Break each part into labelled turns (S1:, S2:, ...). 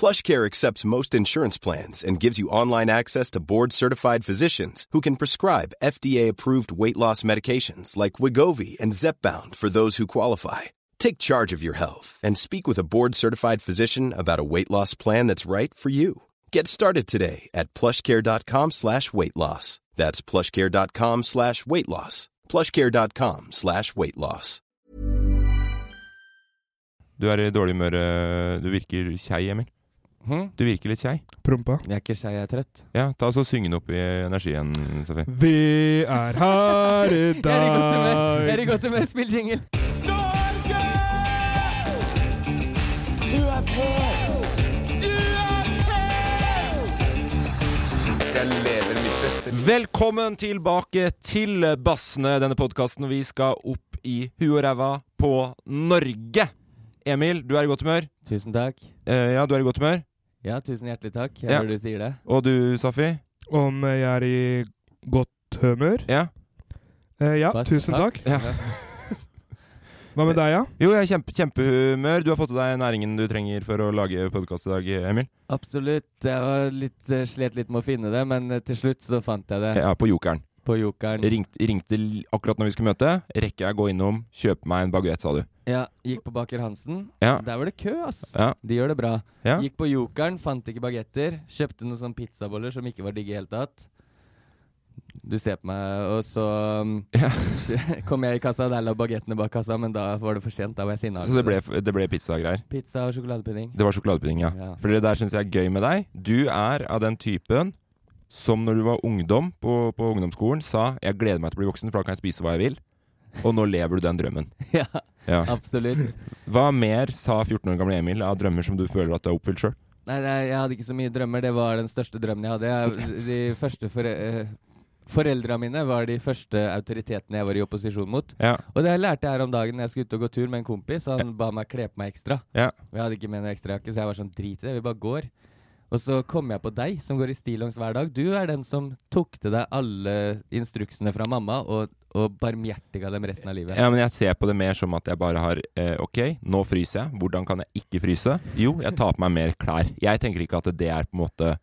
S1: PlushCare accepts most insurance plans and gives you online access to board-certified physicians who can prescribe FDA-approved weight loss medications like Wigovi and Zepbound for those who qualify. Take charge of your health and speak with a board-certified physician about a weight loss plan that's right for you. Get started today at plushcare.com slash weight loss. That's plushcare.com slash weight loss. plushcare.com slash weight loss.
S2: Du er i dårlig humør. øh, Du virker kjei, Emil. Du virker litt kjei.
S3: Prompa.
S4: Jeg er ikke skei, jeg er trøtt.
S2: Ja, ta så Syng den opp i energien, Sofie.
S3: Vi er her i
S4: Jeg er i godt humør. Jeg er
S3: dag.
S4: i godt humør. Spill jingle.
S2: Velkommen tilbake til Bassene, denne podkasten vi skal opp i huet og ræva på Norge. Emil, du er i godt humør.
S4: Tusen takk.
S2: Eh, ja, du er i godt humør.
S4: Ja, tusen hjertelig takk. Jeg
S2: Ja.
S4: hører du sier det.
S2: Og du, Safi?
S3: Om jeg er i godt humør?
S2: Ja.
S3: Eh, ja,
S4: Bare
S3: tusen takk.
S2: Ja.
S3: Hva med deg, ja?
S2: Jo, jeg er kjempe, kjempehumør. Du har fått i deg næringen du trenger for å lage podkast i dag, Emil.
S4: Absolutt. Jeg var litt, eh, slet litt med å finne det, men eh, til slutt så fant jeg det
S2: Ja, på Jokeren.
S4: på Jokeren.
S2: Ringt, ringte l- akkurat når vi skulle møte. Rekker jeg å gå innom, kjøpe meg en baguett, sa du.
S4: Ja, Gikk på Baker Hansen.
S2: Ja.
S4: Der var det kø, ass.
S2: Ja.
S4: De gjør det bra.
S2: Ja.
S4: Gikk på Jokeren, fant ikke bagetter. Kjøpte noen sånne pizzaboller som ikke var digge i det hele tatt. Du ser på meg, og så um, kom jeg i kassa, der lå bagettene bak kassa, men da var det for sent. Da var jeg sinna.
S2: Så det ble, det ble pizzagreier.
S4: Pizza og sjokoladepudding.
S2: Det var sjokoladepudding, ja.
S4: Ja.
S2: For det der syns jeg er gøy med deg. Du er av den typen som når du var ungdom på, på ungdomsskolen, sa 'jeg gleder meg til å bli voksen, for da kan jeg spise hva jeg vil'. Og nå lever du den drømmen.
S4: ja,
S2: Ja.
S4: absolutt.
S2: Hva mer sa 14 år gamle Emil av drømmer som du føler at du har oppfylt sjøl?
S4: Nei, nei, jeg hadde ikke så mye drømmer. Det var den største drømmen jeg hadde. Jeg, de første fore, eh, Foreldra mine var de første autoritetene jeg var i opposisjon mot.
S2: Ja.
S4: Og det lærte jeg her om dagen når jeg skulle ut og gå tur med en kompis. Han ba meg kle på meg ekstra.
S2: Ja.
S4: Og jeg hadde ikke med noe ekstrajakke, så jeg var sånn drit i det, vi bare går. Og så kom jeg på deg, som går i stillongs hver dag. Du er den som tok til deg alle instruksene fra mamma, og, og barmhjertiga dem resten av livet.
S2: ja, men jeg ser på det mer som at jeg bare har eh, Ok, nå fryser jeg. Hvordan kan jeg ikke fryse? Jo, jeg tar på meg mer klær. Jeg tenker ikke at det er på en måte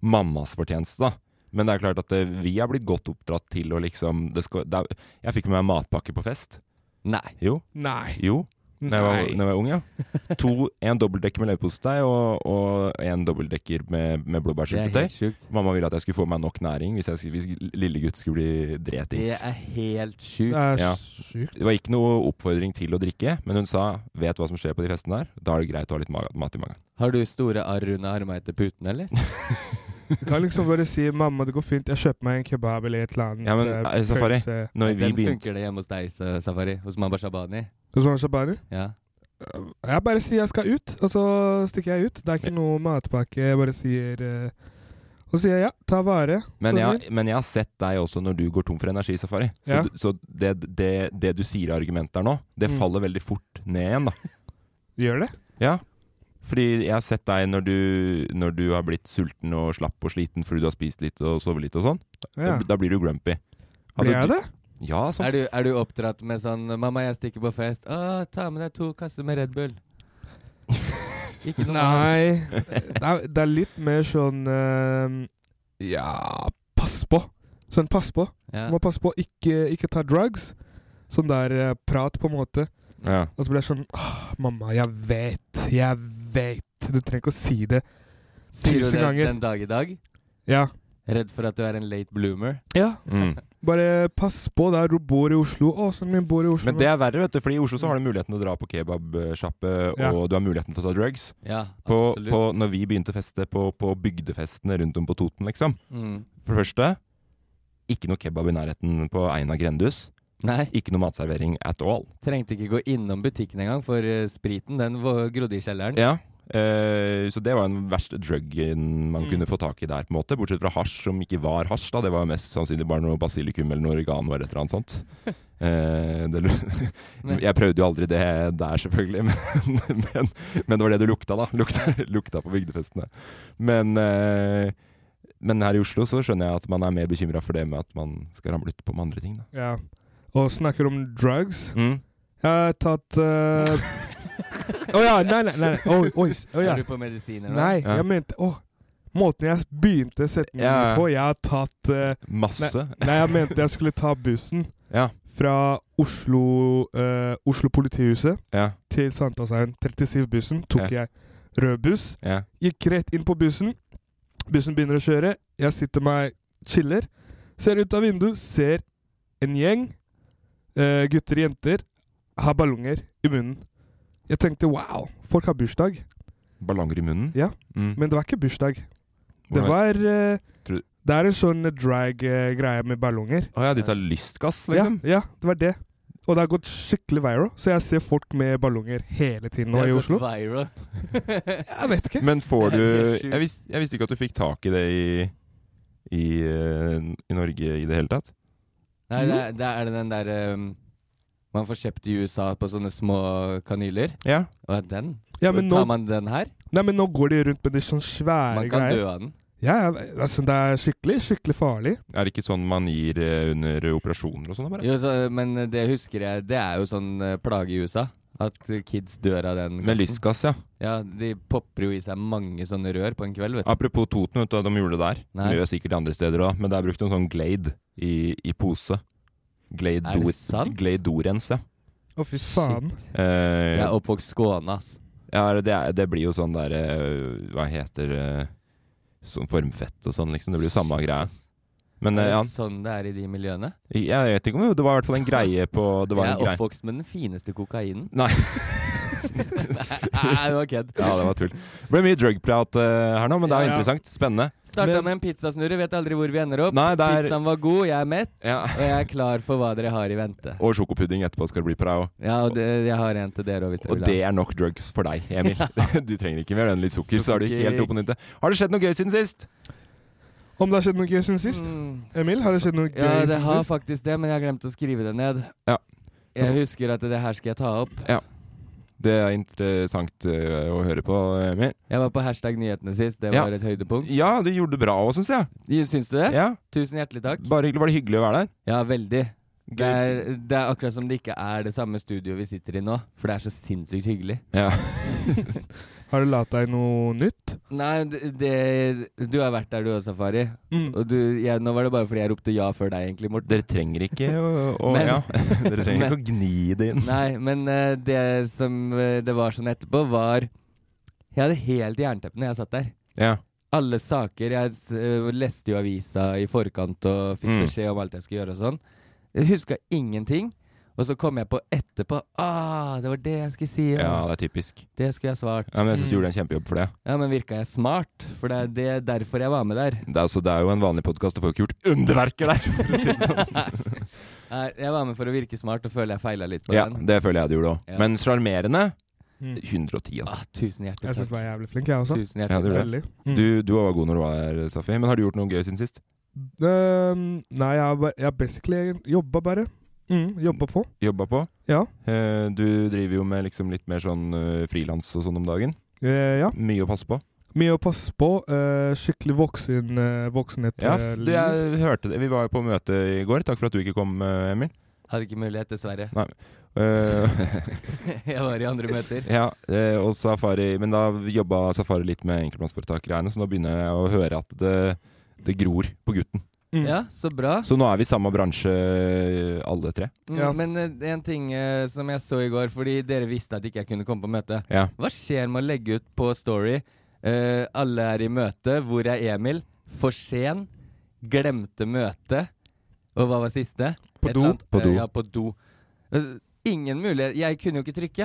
S2: mammas fortjeneste, da. Men det er klart at eh, vi har blitt godt oppdratt til å liksom det skal, det er, Jeg fikk med meg matpakke på fest.
S4: Nei.
S2: Jo.
S3: Nei.
S2: Jo, da jeg, var- når jeg var ung, ja. To, en dobbeltdekker med leverpostei og, og en dobbeltdekker med, med
S4: Det er helt
S2: blåbærsyltetøy.
S4: sjukt.
S2: Mamma ville at jeg skulle få meg nok næring hvis, jeg, skulle- hvis lillegutt skulle bli
S4: Det
S2: dretings.
S4: er helt sjukt.
S3: Det er
S2: Ja.
S3: sykt.
S2: Det var ikke noe oppfordring til å drikke, men hun sa 'vet hva som skjer på de festene der', da er det greit å ha litt ma- mat i magen.
S4: Har du store arr under armene etter puten, eller?
S3: Du kan liksom bare si 'mamma, det går fint, jeg kjøper meg en kebab' eller et eller annet.
S2: Ja, men,
S3: eh,
S2: eh, Safari.
S3: pølse.
S2: Når vi
S4: Den
S2: begynte
S4: funker det hjemme hos deg, sa- Safari. Hos Mamba Shabani.
S3: Og så var det Shabani.
S4: Ja.
S3: Jeg bare sier jeg skal ut, og så stikker jeg ut. Det er ikke noe matpakke. Jeg bare sier eh, Og så sier jeg ja, ta vare.
S2: men,
S3: Så
S2: jeg, men jeg har sett deg også når du går tom for energisafari. Så,
S3: Ja.
S2: du- så det, det, det du sier av argument der nå, det
S3: Mm.
S2: faller veldig fort ned igjen, da.
S3: Gjør det.
S2: Ja, fordi jeg har sett deg når du, når du har blitt sulten og slapp og sliten fordi du har spist litt og sovet litt og sånn.
S3: Ja.
S2: Da, da blir du grumpy. Hadde
S3: Blir jeg
S2: du-
S3: det?
S2: Ja, sånn.
S4: Er, du, er du oppdratt med sånn 'Mamma, jeg stikker på fest'. 'Å, ta med deg to kasser med Red Bull'. Ikke noe annet.
S3: Nei. Det er, det er litt mer sånn eh, Ja, pass på. Sånn pass på.
S4: Ja.
S3: Må passe på. Ikke, ikke ta drugs. Sånn der eh, prat, på en måte.
S2: Ja.
S3: Og så blir jeg sånn Åh, mamma, jeg vet. Jeg vet. Du trenger ikke å si det.
S4: Sier du
S3: Tusen
S4: det
S3: ganger.
S4: den dag i dag?
S3: Ja.
S4: Redd for at du er en late bloomer?
S3: ja.
S2: Mm.
S3: Bare pass på der du bor i Oslo. Å, sønnen min bor i Oslo.
S2: Men det er verre, vet du, Fordi i Oslo så har du muligheten til å dra på kebabsjappe,
S3: Ja.
S2: og du har muligheten til å ta drugs.
S4: Ja,
S2: På,
S4: absolutt.
S2: på, når vi begynte å feste på, på bygdefestene rundt om på Toten, liksom.
S4: Mm.
S2: For det første, ikke noe kebab i nærheten på Eina grendehus.
S4: Nei,
S2: Ikke noe matservering at all.
S4: trengte ikke gå innom butikken engang, for eh, spriten den vå- grodde i kjelleren.
S2: Ja, eh, så det var den verste druggen man
S3: Mm.
S2: kunne få tak i der, på en måte. Bortsett fra hasj, som ikke var hasj, da. Det var mest sannsynlig bare noe basilikum eller noe oregano eller et eller annet sånt. Eh, det, lu-
S4: Men-
S2: jeg prøvde jo aldri det der, selvfølgelig, men, men, men det var det du lukta, da. Lukta, lukta på bygdefestene. Men, eh, men her i Oslo så skjønner jeg at man er mer bekymra for det med at man skal ramle utpå med andre ting, da.
S3: Ja. Og snakker om drugs.
S2: Mm.
S3: Jeg har tatt eh, Å ja, nei, nei. nei. Oi, oi. Å ja.
S4: Er du på medisiner nå?
S3: Nei,
S2: Ja.
S3: jeg mente Å, måten jeg begynte setningen
S2: Ja, ja.
S3: på Jeg har tatt eh,
S2: Masse.
S3: Nei, jeg mente jeg skulle ta bussen
S2: Ja.
S3: fra Oslo, eh, Oslo politihuset
S2: Ja.
S3: til Sandalshaugen. 37-bussen tok jeg rød buss.
S2: Ja.
S3: Gikk rett inn på bussen. Bussen begynner å kjøre. Jeg sitter meg chiller. Ser ut av vinduet, ser en gjeng eh, gutter og jenter har ballonger i munnen. Jeg tenkte wow, folk har bursdag.
S2: Ballonger i munnen.
S3: Ja.
S2: Mm.
S3: Men det var ikke bursdag. Det
S2: Hvordan-
S3: var eh,
S2: Tror du-
S3: Det er en sånn drag-greie med ballonger.
S2: Å ja, de tar lystgass, liksom?
S3: Ja, ja, det var det. Og det har gått skikkelig viral, så jeg ser folk med ballonger hele tiden nå
S4: Det har
S3: i
S4: gått
S3: Oslo.
S4: viral.
S3: Jeg vet ikke.
S2: Men får
S4: Det
S2: du
S4: er helt sjukt.
S2: jeg, vis, jeg visste ikke at du fikk tak i det i, i, eh, i Norge i det hele tatt.
S4: Nei, det
S3: Mm.
S4: er, det er det den derre man får kjøpt i USA på sånne små kanyler.
S2: Ja.
S4: Og er den?
S3: Ja, men nå,
S4: Tar man den her?
S3: nei, men nå går de rundt med de sånn svære
S4: Man kan dø
S3: greier.
S4: av den.
S3: Ja, ja, altså, det er skikkelig, skikkelig farlig.
S2: Er det ikke sånn man gir eh, under operasjoner og sånn? da, bare?
S4: Jo, så, men det husker jeg, det er jo sånn eh, plage i USA. At kids dør av den.
S2: Med
S4: gassen.
S2: lystgass, ja.
S4: Ja, de popper jo i seg mange sånne rør på en kveld, vet du.
S2: Apropos Toten, vet du hva de gjorde det der?
S4: Nei.
S2: De gjør sikkert andre steder òg, men der brukte de sånn Glade i, i pose. Glade,
S4: Er det
S2: do,
S4: sant?
S2: Glade dorens, ja.
S3: Å, fy faen.
S2: Eh,
S4: Jeg er oppvokst Skåne, ass.
S2: ja det, er, det blir jo sånn der eh, Hva heter eh, Sånn formfett og sånn, liksom. Det blir jo samme greia. Men
S4: Er
S2: eh,
S4: det
S2: ja,
S4: sånn det er i de miljøene?
S2: jeg vet ikke om det var i hvert fall en greie på Det var
S4: Jeg
S2: en
S4: er
S2: greie.
S4: oppvokst med den fineste kokainen.
S2: Nei.
S4: Nei, det var kødd.
S2: Ja, det var tull. Det ble mye drugprat eh, her nå, men det er jo
S3: Ja.
S2: interessant. Spennende.
S4: Starta
S3: Men-
S4: med en pizzasnurre, vet aldri hvor vi ender opp.
S2: Nei, det er
S4: Pizzaen var god, jeg er mett,
S2: ja.
S4: og jeg er klar for hva dere har i vente.
S2: Og sjokopudding etterpå skal det bli på deg òg.
S4: Ja, og det, jeg har en til dere òg, hvis dere
S2: Og
S4: vil
S2: det
S4: ha.
S2: er nok drugs for deg, Emil. Du trenger ikke mer enn litt sukker, så er du
S4: Sukkerkick.
S2: helt oppe på nytt. Har det skjedd noe gøy siden sist?
S3: Om det har skjedd noe gøy siden sist?
S4: Mm.
S3: Emil, har det skjedd noe gøy
S4: Ja, det
S3: siden
S4: har
S3: sist?
S4: faktisk det, men jeg har glemt å skrive det ned.
S2: Ja.
S4: Jeg husker at det her skal jeg ta opp.
S2: Det er interessant eh, å høre på, Emil.
S4: Jeg var på hashtag nyhetene sist, det
S2: Ja.
S4: var et høydepunkt.
S2: Ja, du gjorde det bra òg, syns jeg.
S4: Syns du det?
S2: Ja.
S4: Tusen hjertelig takk.
S2: Bare hyggelig. Var det hyggelig å være der?
S4: Ja, veldig. Det
S2: Gøy.
S4: er, det er akkurat som det ikke er det samme studioet vi sitter i nå, for det er så sinnssykt hyggelig.
S2: Ja.
S3: Har du latt deg noe nytt?
S4: Nei, det, det Du har vært der du også, Safari.
S3: Mm.
S4: Og du, jeg, nå var det bare fordi jeg ropte ja før deg, egentlig, Morten.
S2: Dere trenger ikke å, å
S4: Men-
S2: ja. Dere trenger ikke å gni det inn.
S4: Nei, men eh, det som eh, det var sånn etterpå, var Jeg hadde helt jernteppe når jeg satt der.
S2: Ja.
S4: Alle saker Jeg s- eh, leste jo avisa i forkant og fikk
S2: Mm.
S4: beskjed om alt jeg skulle gjøre og sånn. Jeg huska ingenting. Og så kom jeg på etterpå Ah, det var det jeg skulle si.
S2: ja,
S4: og
S2: det er typisk.
S4: Det skulle jeg svart.
S2: Ja, men jeg syns du gjorde en kjempejobb for det.
S4: Ja, men virka jeg smart? For det er det, derfor jeg var med der.
S2: Det er, altså, det er jo en vanlig podkast, du får jo ikke gjort underverker der! for å si det sånn.
S4: Nei, jeg var med for å virke smart, og føler jeg feila litt på
S2: Ja,
S4: den.
S2: det føler jeg du gjorde òg.
S4: Ja.
S2: Men sjarmerende
S3: Mm.
S2: 110, altså.
S4: Ah, tusen hjertelig
S3: Jeg syns
S4: takk.
S3: du var sånn. jævlig flink, jeg også.
S4: Tusen
S2: Ja, det
S4: hjertelig
S2: gjorde
S4: takk.
S3: Veldig.
S2: Du, du var god når du var her, Safi. Men har du gjort noe gøy siden sist?
S3: Ehm, nei, jeg har bare- jeg har basically jobba bare. Mm, jobba på.
S2: Jobba på?
S3: Ja.
S2: Eh, Du driver jo med liksom litt mer sånn eh, frilans og sånn om dagen.
S3: Eh, ja.
S2: Mye å passe på.
S3: Mye å passe på. eh, skikkelig voksen, eh, voksenhet.
S2: Ja,
S3: eh,
S2: du, jeg hørte det. Vi var jo på møte i går. Takk for at du ikke kom, eh, Emil.
S4: Hadde ikke mulighet, dessverre.
S2: Eh,
S4: jeg var i andre møter.
S2: ja, eh, og Safari Men da jobba Safari litt med enkeltmannsforetak-greiene, så nå begynner jeg å høre at det, det gror på gutten.
S3: Mm.
S4: Ja, så bra.
S2: Så nå er vi i samme bransje, eh, alle tre.
S4: Mm,
S3: Ja.
S4: Men eh, en ting eh, som jeg så i går, fordi dere visste at ikke jeg kunne komme på møte.
S2: Ja.
S4: Hva skjer med å legge ut på Story eh, Alle er i møte, hvor er Emil? For sen, glemte møte Og hva var siste?
S3: På
S4: Et
S3: do.
S4: eller annet,
S2: På
S4: eh,
S2: do.
S4: Ja, på do Eh, Ingen mulighet, jeg kunne jo ikke trykke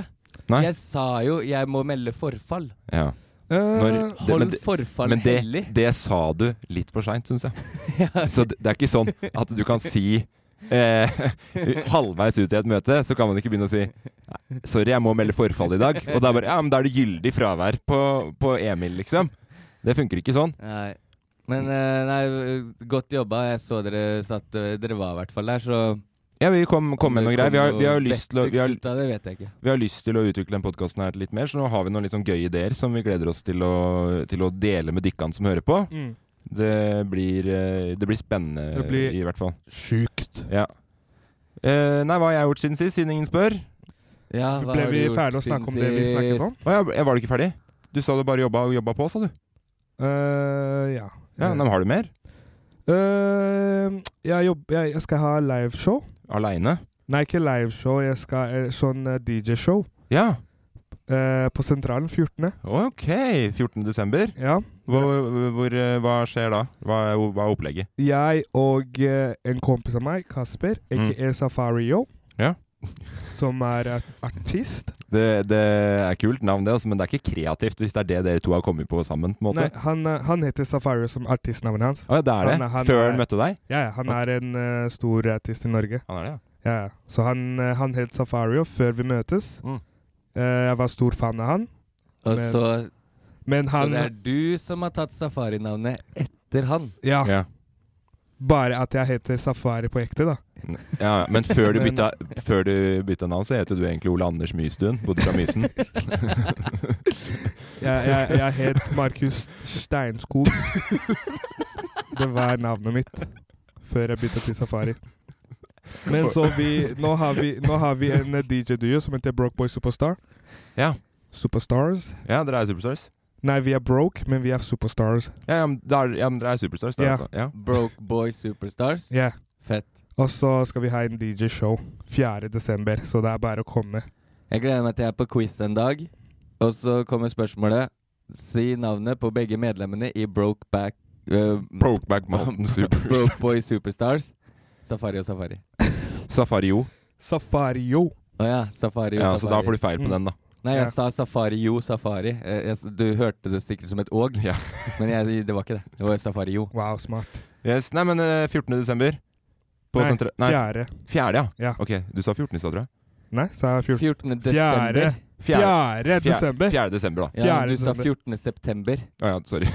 S2: Nei.
S4: Jeg sa jo, jeg må melde forfall
S2: ja.
S3: Eh,
S2: Når- Det- men
S4: Hold
S2: det-
S4: forfall
S2: Men det,
S4: hellig
S2: det sa du litt for seint, syns jeg. Så det, det er ikke sånn at du kan si eh, Halvveis ut i et møte så kan man ikke begynne å si «Nei, 'Sorry, jeg må melde forfall i dag'. Og da er, bare, ja, men da er det gyldig fravær på, på Emil, liksom. Det funker ikke sånn.
S4: Nei. Men eh, nei, eh, godt jobba Jeg så dere satt, eh, dere var i hvert fall der Så
S2: Ja, vi kom, kom med noen greier. Vi har, vi har jo lyst til å vi har,
S4: Vettug ut av Det vet jeg ikke
S2: vi har lyst til å utvikle den podkasten her litt mer, så nå har vi noen litt sånn gøye ideer som vi gleder oss til å, til å dele med dykkan som hører på.
S3: mm.
S2: Det blir, eh, det blir spennende,
S3: Det blir-
S2: i hvert fall.
S3: Sjukt.
S2: Ja. Eh, nei, hva har jeg gjort siden sist, siden ingen spør?
S4: ja, hva
S3: Ble
S4: har
S3: vi
S4: du gjort
S3: ferdige å
S4: siden
S3: snakke om det vi snakket
S4: sist?
S3: om?
S2: Å, jeg, jeg var du ikke ferdig? Du sa du bare jobba og jobba på, sa du.
S3: Eh, ja.
S2: Ja, nei, men Har du mer?
S3: Eh, jeg, jobb, jeg, jeg skal ha liveshow.
S2: Aleine?
S3: Nei, ikke liveshow. Jeg skal eh, sånn eh, DJ-show
S2: Ja.
S3: eh, på Sentralen 14.
S2: Ok. 14. desember.
S3: Ja.
S2: Hvor, hvor, eh, hva skjer da? Hva, er- hva er opplegget?
S3: Jeg og eh, en kompis av meg, Kasper,
S2: Mm.
S3: aka Safario,
S2: Ja.
S3: som er eh, artist
S2: Det, det er kult navn, det, altså, men det er ikke kreativt hvis det er det dere to har kommet på sammen. på en måte.
S3: Nei, han, eh, han heter Safario som artistnavnet hans.
S2: Å, ja, det er det.
S3: Han er- han
S2: Før
S3: er-
S2: han møtte deg?
S3: Ja, ja, han
S2: Ok.
S3: er en eh, stor artist i Norge.
S2: Han er det, ja.
S3: Ja, ja. Så han, eh, han het Safario før vi møtes.
S2: Mm.
S3: Eh, jeg var stor fan av han.
S4: Og
S3: Men-
S4: så
S3: Men han
S4: Så det er du som har tatt safarinavnet etter han?
S3: ja,
S2: Ja.
S3: bare at jeg heter Safari på ekte, da.
S2: Ja, ja, men før du, bytta, før du bytta navn, så heter du egentlig Ole Anders Mystuen. Bodde fra Mysen.
S3: Jeg, jeg, jeg het Markus Steinskog. Det var navnet mitt før jeg bytta til Safari. Men så vi Nå har vi, nå har vi en eh, DJ-duo som heter Broke Boy Superstar.
S2: Ja.
S3: Superstars.
S2: Ja, dere er superstars.
S3: Nei, vi er broke, men vi er superstars.
S2: Ja, ja, men, der, ja, men dere er superstars. Der,
S3: Ja.
S2: altså. ja.
S4: Broke Boy Superstars?
S3: Ja.
S4: Fett.
S3: Og så skal vi ha en DJ-show 4. desember, så det er bare å komme.
S4: Jeg gleder meg til jeg er på quiz en dag, og så kommer spørsmålet Si navnet på begge medlemmene i Brokeback uh,
S2: Brokeback Mountain Supers.
S4: Broke Boy Superstars. Safari og Safari.
S2: Safario.
S3: Safario.
S4: Å ja, Safari og
S2: Ja, så da får du
S4: Safari.
S2: feil på
S3: Mm.
S2: den, da.
S4: Nei, jeg
S3: Ja.
S4: sa Safari jo Safari. Eh, Jeg, s- du hørte det sikkert som et åg,
S2: Ja.
S4: men jeg, det var ikke det. Det var Safari jo.
S3: Wow, smart.
S2: Yes. Nei, men eh, 14. desember. På
S3: Nei,
S2: sentra... Nei,
S3: Fjerde.
S2: fjerde, ja.
S3: Ja.
S2: Ok, du sa 14. i stad, tror jeg.
S3: Nei, sa jeg 14.
S4: 14. desember.
S2: Fjerde-
S3: Fjerde
S2: fjer-
S3: desember.
S2: Fjerde desember, da.
S4: Ja,
S3: Fjerde
S4: du sa
S3: desember.
S4: 14. september.
S2: Å ja, sorry.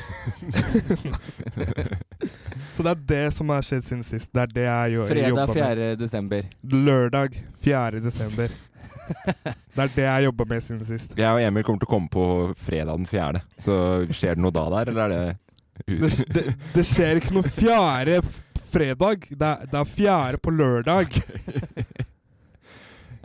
S3: Så det er det som har skjedd siden sist. Det er det jeg jo-
S4: Fredag
S3: jobber med.
S4: 4. desember.
S3: Lørdag 4. desember. Det er det jeg jobber med siden sist.
S2: Jeg og Emil kommer til å komme på fredag den fjerde. Så skjer det noe da der, eller er
S3: Det,
S2: det
S3: det, det skjer ikke noe fjerde f- fredag. Det er, det er fjerde på lørdag.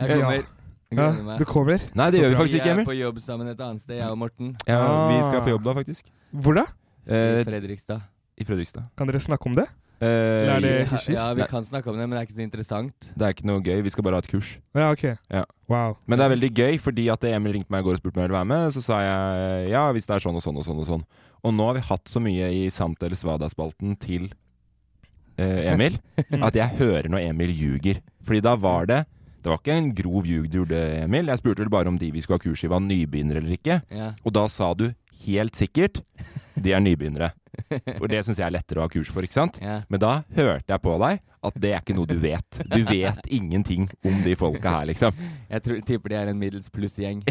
S4: Jeg
S3: Ja.
S4: kommer. Jeg
S3: Ja,
S4: gleder meg.
S3: du kommer?
S2: Nei, det
S3: Så
S2: gjør vi
S3: bra.
S2: faktisk ikke,
S4: Vi er
S2: Emil.
S4: på jobb sammen et annet sted, jeg og Morten.
S2: Ja, vi skal
S3: Ah.
S2: på jobb da, faktisk.
S3: Hvor da?
S2: Eh,
S4: I Fredrikstad.
S2: I Fredrikstad.
S3: Kan dere snakke om det?
S2: Eh,
S3: Nei, Er det
S4: Vi-
S3: hysjis?
S4: Ja, vi
S2: Nei.
S4: kan snakke om det, men det er ikke så interessant.
S2: Det er ikke noe gøy, vi skal bare ha et kurs.
S3: Ja, ok.
S2: Ja.
S3: Wow.
S2: Men det er veldig gøy, fordi at Emil ringte meg i går og spurte om jeg ville være med. Så sa jeg ja, hvis det er sånn og sånn og sånn. Og sånn Og nå har vi hatt så mye i Sant eller svada-spalten til eh, Emil at jeg hører når Emil ljuger. Fordi da var det Det var ikke en grov ljug du gjorde, Emil. Jeg spurte vel bare om de vi skulle ha kurs i, var nybegynnere eller ikke.
S4: Ja.
S2: Og da sa du helt sikkert de er nybegynnere. For det syns jeg er lettere å ha kurs for, ikke sant?
S4: Ja.
S2: Men da hørte jeg på deg at det er ikke noe du vet. Du vet ingenting om de folka her, liksom.
S4: Jeg tror, tipper de er en middels pluss-gjeng.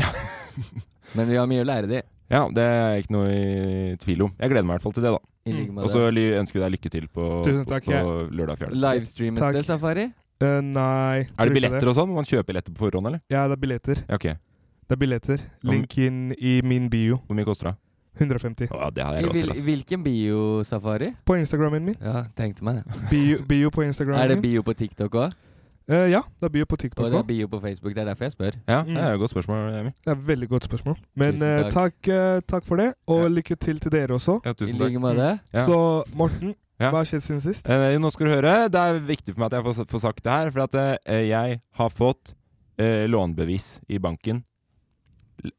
S4: men vi har mye å lære de.
S2: Ja, det er ikke noe i tvil om. Jeg gleder meg i hvert fall til det, da.
S4: I like
S2: Mm. Og så
S4: måte.
S2: ly- ønsker vi deg lykke til på,
S3: Tusen takk,
S2: på,
S3: jeg-
S2: på lørdag 4.
S4: Livestreames
S3: Takk.
S4: det, Safari?
S3: Eh, nei
S2: Er det billetter og sånn? Må man kjøpe billetter på forhånd, eller?
S3: Ja, det er billetter.
S2: Ja, ok.
S3: Det er billetter. Link inn i min bio.
S2: Hvor mye koster det?
S3: 150.
S2: Å, det har
S4: I
S2: jeg råd
S4: hvil,
S2: til, altså.
S4: hvilken bio, Safari?
S3: På Instagramen min.
S4: Ja, tenkte meg det.
S3: Bio, bio på Instagramen
S4: Er det
S3: min.
S4: bio på TikTok òg?
S3: Eh, ja, det er bio på
S4: Og
S3: TikTok
S4: det er
S3: òg.
S4: bio på Facebook, det er derfor jeg spør.
S2: Ja,
S3: Mm.
S2: det er et godt spørsmål, Emil.
S3: Det er et veldig godt spørsmål. Men
S4: Tusen
S3: eh, takk, eh, takk for det, og lykke til til dere også.
S2: Ja,
S4: I
S2: tusen
S4: like
S2: takk.
S4: måte.
S2: Ja.
S3: Så Morten,
S2: Ja.
S3: Hva har skjedd siden sist?
S2: Eh, nå skal du høre. Det er viktig for meg at jeg får, får sagt det her. For at eh, jeg har fått eh, lånebevis i banken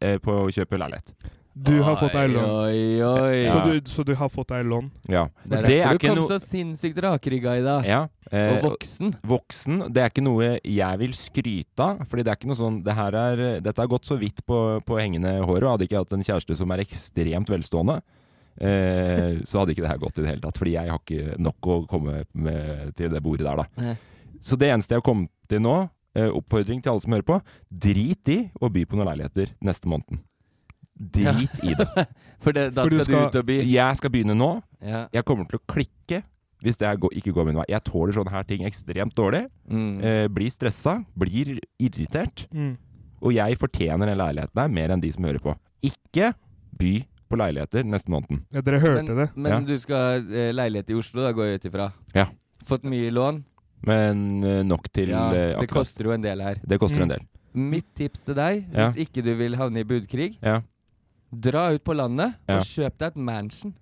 S2: eh, på å kjøpe leilighet.
S3: Du har fått deg lån.
S4: Oi, oi,
S2: Ja.
S3: Så,
S4: oi.
S3: du, så du har fått deg lån?
S2: Ja.
S4: Det er
S2: Det er
S4: derfor du
S2: ikke
S4: kom
S2: noe
S4: så sinnssykt rakrygga i dag.
S2: ja, eh,
S4: Og voksen.
S2: voksen. Det er ikke noe jeg vil skryte av. Fordi det er ikke noe sånn det her er, Dette har gått så vidt på, på hengende håret. Og hadde ikke jeg hatt en kjæreste som er ekstremt velstående, eh, så hadde ikke det her gått i det hele tatt. Fordi jeg har ikke nok å komme med til det bordet der, da.
S4: Nei.
S2: Så det eneste jeg har kommet til nå, eh, oppfordring til alle som hører på, drit i å by på noen leiligheter neste måneden. Drit i det.
S4: For det, da
S3: For du
S4: skal,
S3: skal-
S4: du ut og by.
S2: Jeg skal begynne nå.
S4: Ja.
S2: Jeg kommer til å klikke hvis det her går- ikke går min vei. Jeg tåler sånne her ting ekstremt dårlig
S4: Mm.
S2: eh, blir stressa, blir irritert.
S3: Mm.
S2: Og jeg fortjener den leiligheten her mer enn de som hører på. Ikke by på leiligheter neste måneden.
S3: Ja, dere hørte
S4: Men,
S3: det.
S4: men
S2: Ja.
S4: du skal ha eh, leilighet i Oslo, da går jeg ut ifra.
S2: Ja.
S4: Fått mye lån.
S2: Men eh, nok til
S4: ja,
S2: eh,
S4: det
S2: akkurat-
S4: koster jo en del her.
S2: det koster en del.
S4: Mitt tips til deg,
S2: Ja.
S4: hvis ikke du vil havne i budkrig,
S2: Ja.
S4: dra ut på landet
S2: Ja.
S4: og kjøp deg et mansion.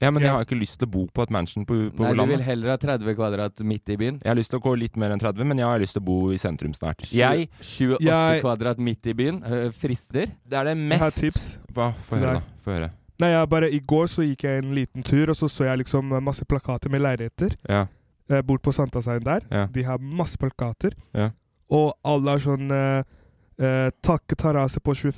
S2: ja, men jeg
S3: Ja.
S2: har ikke lyst til å bo på et mansion på, på
S4: Nei, du vil
S2: landet.
S4: heller ha 30 kvadrat midt i byen.
S2: Jeg har lyst til å gå litt mer enn 30, men jeg har lyst til å bo i sentrum snart.
S4: Tjue-
S2: Jeg,
S4: 28
S3: Jeg-
S4: kvadrat midt i byen øh, frister.
S2: det er det
S3: Jeg har
S2: mest
S3: tips.
S2: Hva? Få høre,
S3: Nei.
S2: da. Få høre.
S3: Nei, jeg bare I går så gikk jeg en liten tur, og så så jeg liksom eh, masse plakater med leiligheter.
S2: Ja.
S3: eh, Bort på Sankthanshaugen der.
S2: Ja.
S3: De har masse plakater.
S2: Ja.
S3: Og alle har sånn eh, eh, takterrasse på 20,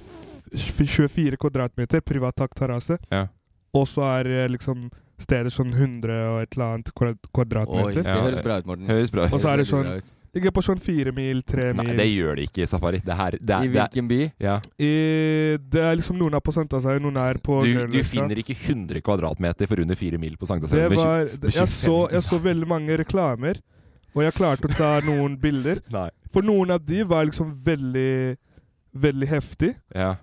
S3: 24 kvadratmeter, privat takterrasse.
S2: Ja.
S3: Og så er eh, liksom steder sånn 100 og et eller annet kvad-
S4: Oi,
S3: kvadratmeter.
S4: det
S2: Ja,
S4: høres bra ut, Morten.
S2: Høres bra
S3: Og
S2: ut.
S3: så er det
S4: Høres veldig
S3: sånn-
S4: bra ut.
S3: Ligger på sånn fire mil, tre mil.
S2: Nei, det gjør det ikke, Safari. Det her det
S4: I
S2: er, det er,
S4: hvilken by?
S2: ja.
S3: I, det er liksom noen er på Sankthanshaugen, noen er på
S2: du, du
S3: Grünerløkka.
S2: finner ikke 100 kvadratmeter for under 4 mil på
S3: Det
S2: Sankthanshaugen.
S3: var,
S2: med
S3: jeg,
S2: 25
S3: så, jeg så veldig mange reklamer, og jeg klarte å ta noen bilder.
S2: Nei.
S3: For noen av de var liksom veldig, veldig heftig.
S2: Ja.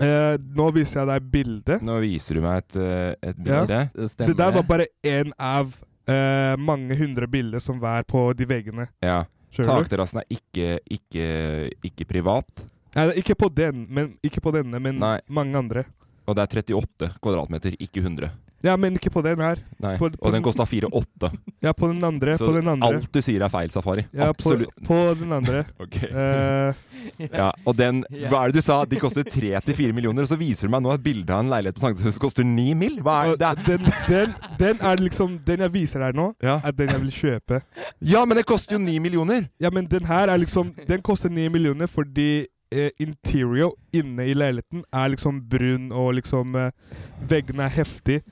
S3: Eh, nå viser jeg deg bildet.
S2: Nå viser du meg et, eh, et
S3: Ja.
S2: bilde.
S4: Stemmer
S3: Det der var bare én av eh, mange hundre bilder som var på de veggene.
S2: Ja.
S3: Skjønner du?
S2: Takterrassen er ikke, ikke, ikke privat,
S3: Nei, ikke på den, men, ikke på denne, men
S2: Nei.
S3: mange andre.
S2: og det er 38 kvadratmeter, ikke 100.
S3: Ja, men ikke på den her.
S2: Nei.
S3: På- på
S2: og den
S3: den-
S2: kosta 4,8.
S3: Ja, på den andre.
S2: Så
S3: på den andre.
S2: alt du sier er feil, Safari.
S3: Ja, på,
S2: Absolutt.
S3: på den andre.
S2: Ok.
S3: Eh,
S2: Ja, og den, hva er det du sa? De koster 3-4 millioner, og så viser du meg nå et bilde av en leilighet på Sankthanshaugen som koster 9 mill.? Hva er
S3: og
S2: det?
S3: den, den, den er liksom Den jeg viser deg nå,
S2: Ja.
S3: er den jeg vil kjøpe.
S2: ja, men det koster jo 9 millioner!
S3: Ja, men den her er liksom Den koster 9 millioner fordi eh, interior inne i leiligheten er liksom brun, og liksom eh, Veggene er heftig.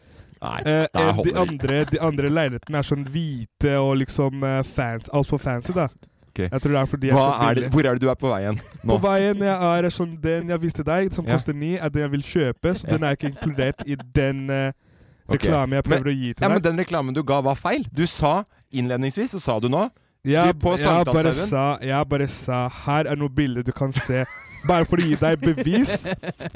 S2: Nei,
S3: Eh,
S2: nei,
S3: enn
S2: holder
S3: de,
S2: ikke.
S3: andre, de andre leilighetene er sånn hvite og liksom eh, fans, altfor fancy, da.
S2: Ok.
S3: Jeg tror det er fordi jeg
S2: Hva
S3: så
S2: er det,
S3: billig.
S2: hvor er det du er på vei hen
S3: På
S2: nå?
S3: veien jeg er sånn den jeg viste deg, som
S2: Ja.
S3: koster 9, er den jeg vil kjøpe, så den er ikke inkludert i den eh,
S2: Ok.
S3: reklamen jeg
S2: Men-
S3: prøver å gi
S2: Ja,
S3: til
S2: men
S3: deg.
S2: Den reklamen du ga, var feil. Du sa innledningsvis, så sa du nå
S3: Jeg,
S2: du, på
S3: jeg, bare
S2: Sankthanshaugen-
S3: sa, jeg bare sa Her er noen bilder du kan se. Bare for å gi deg bevis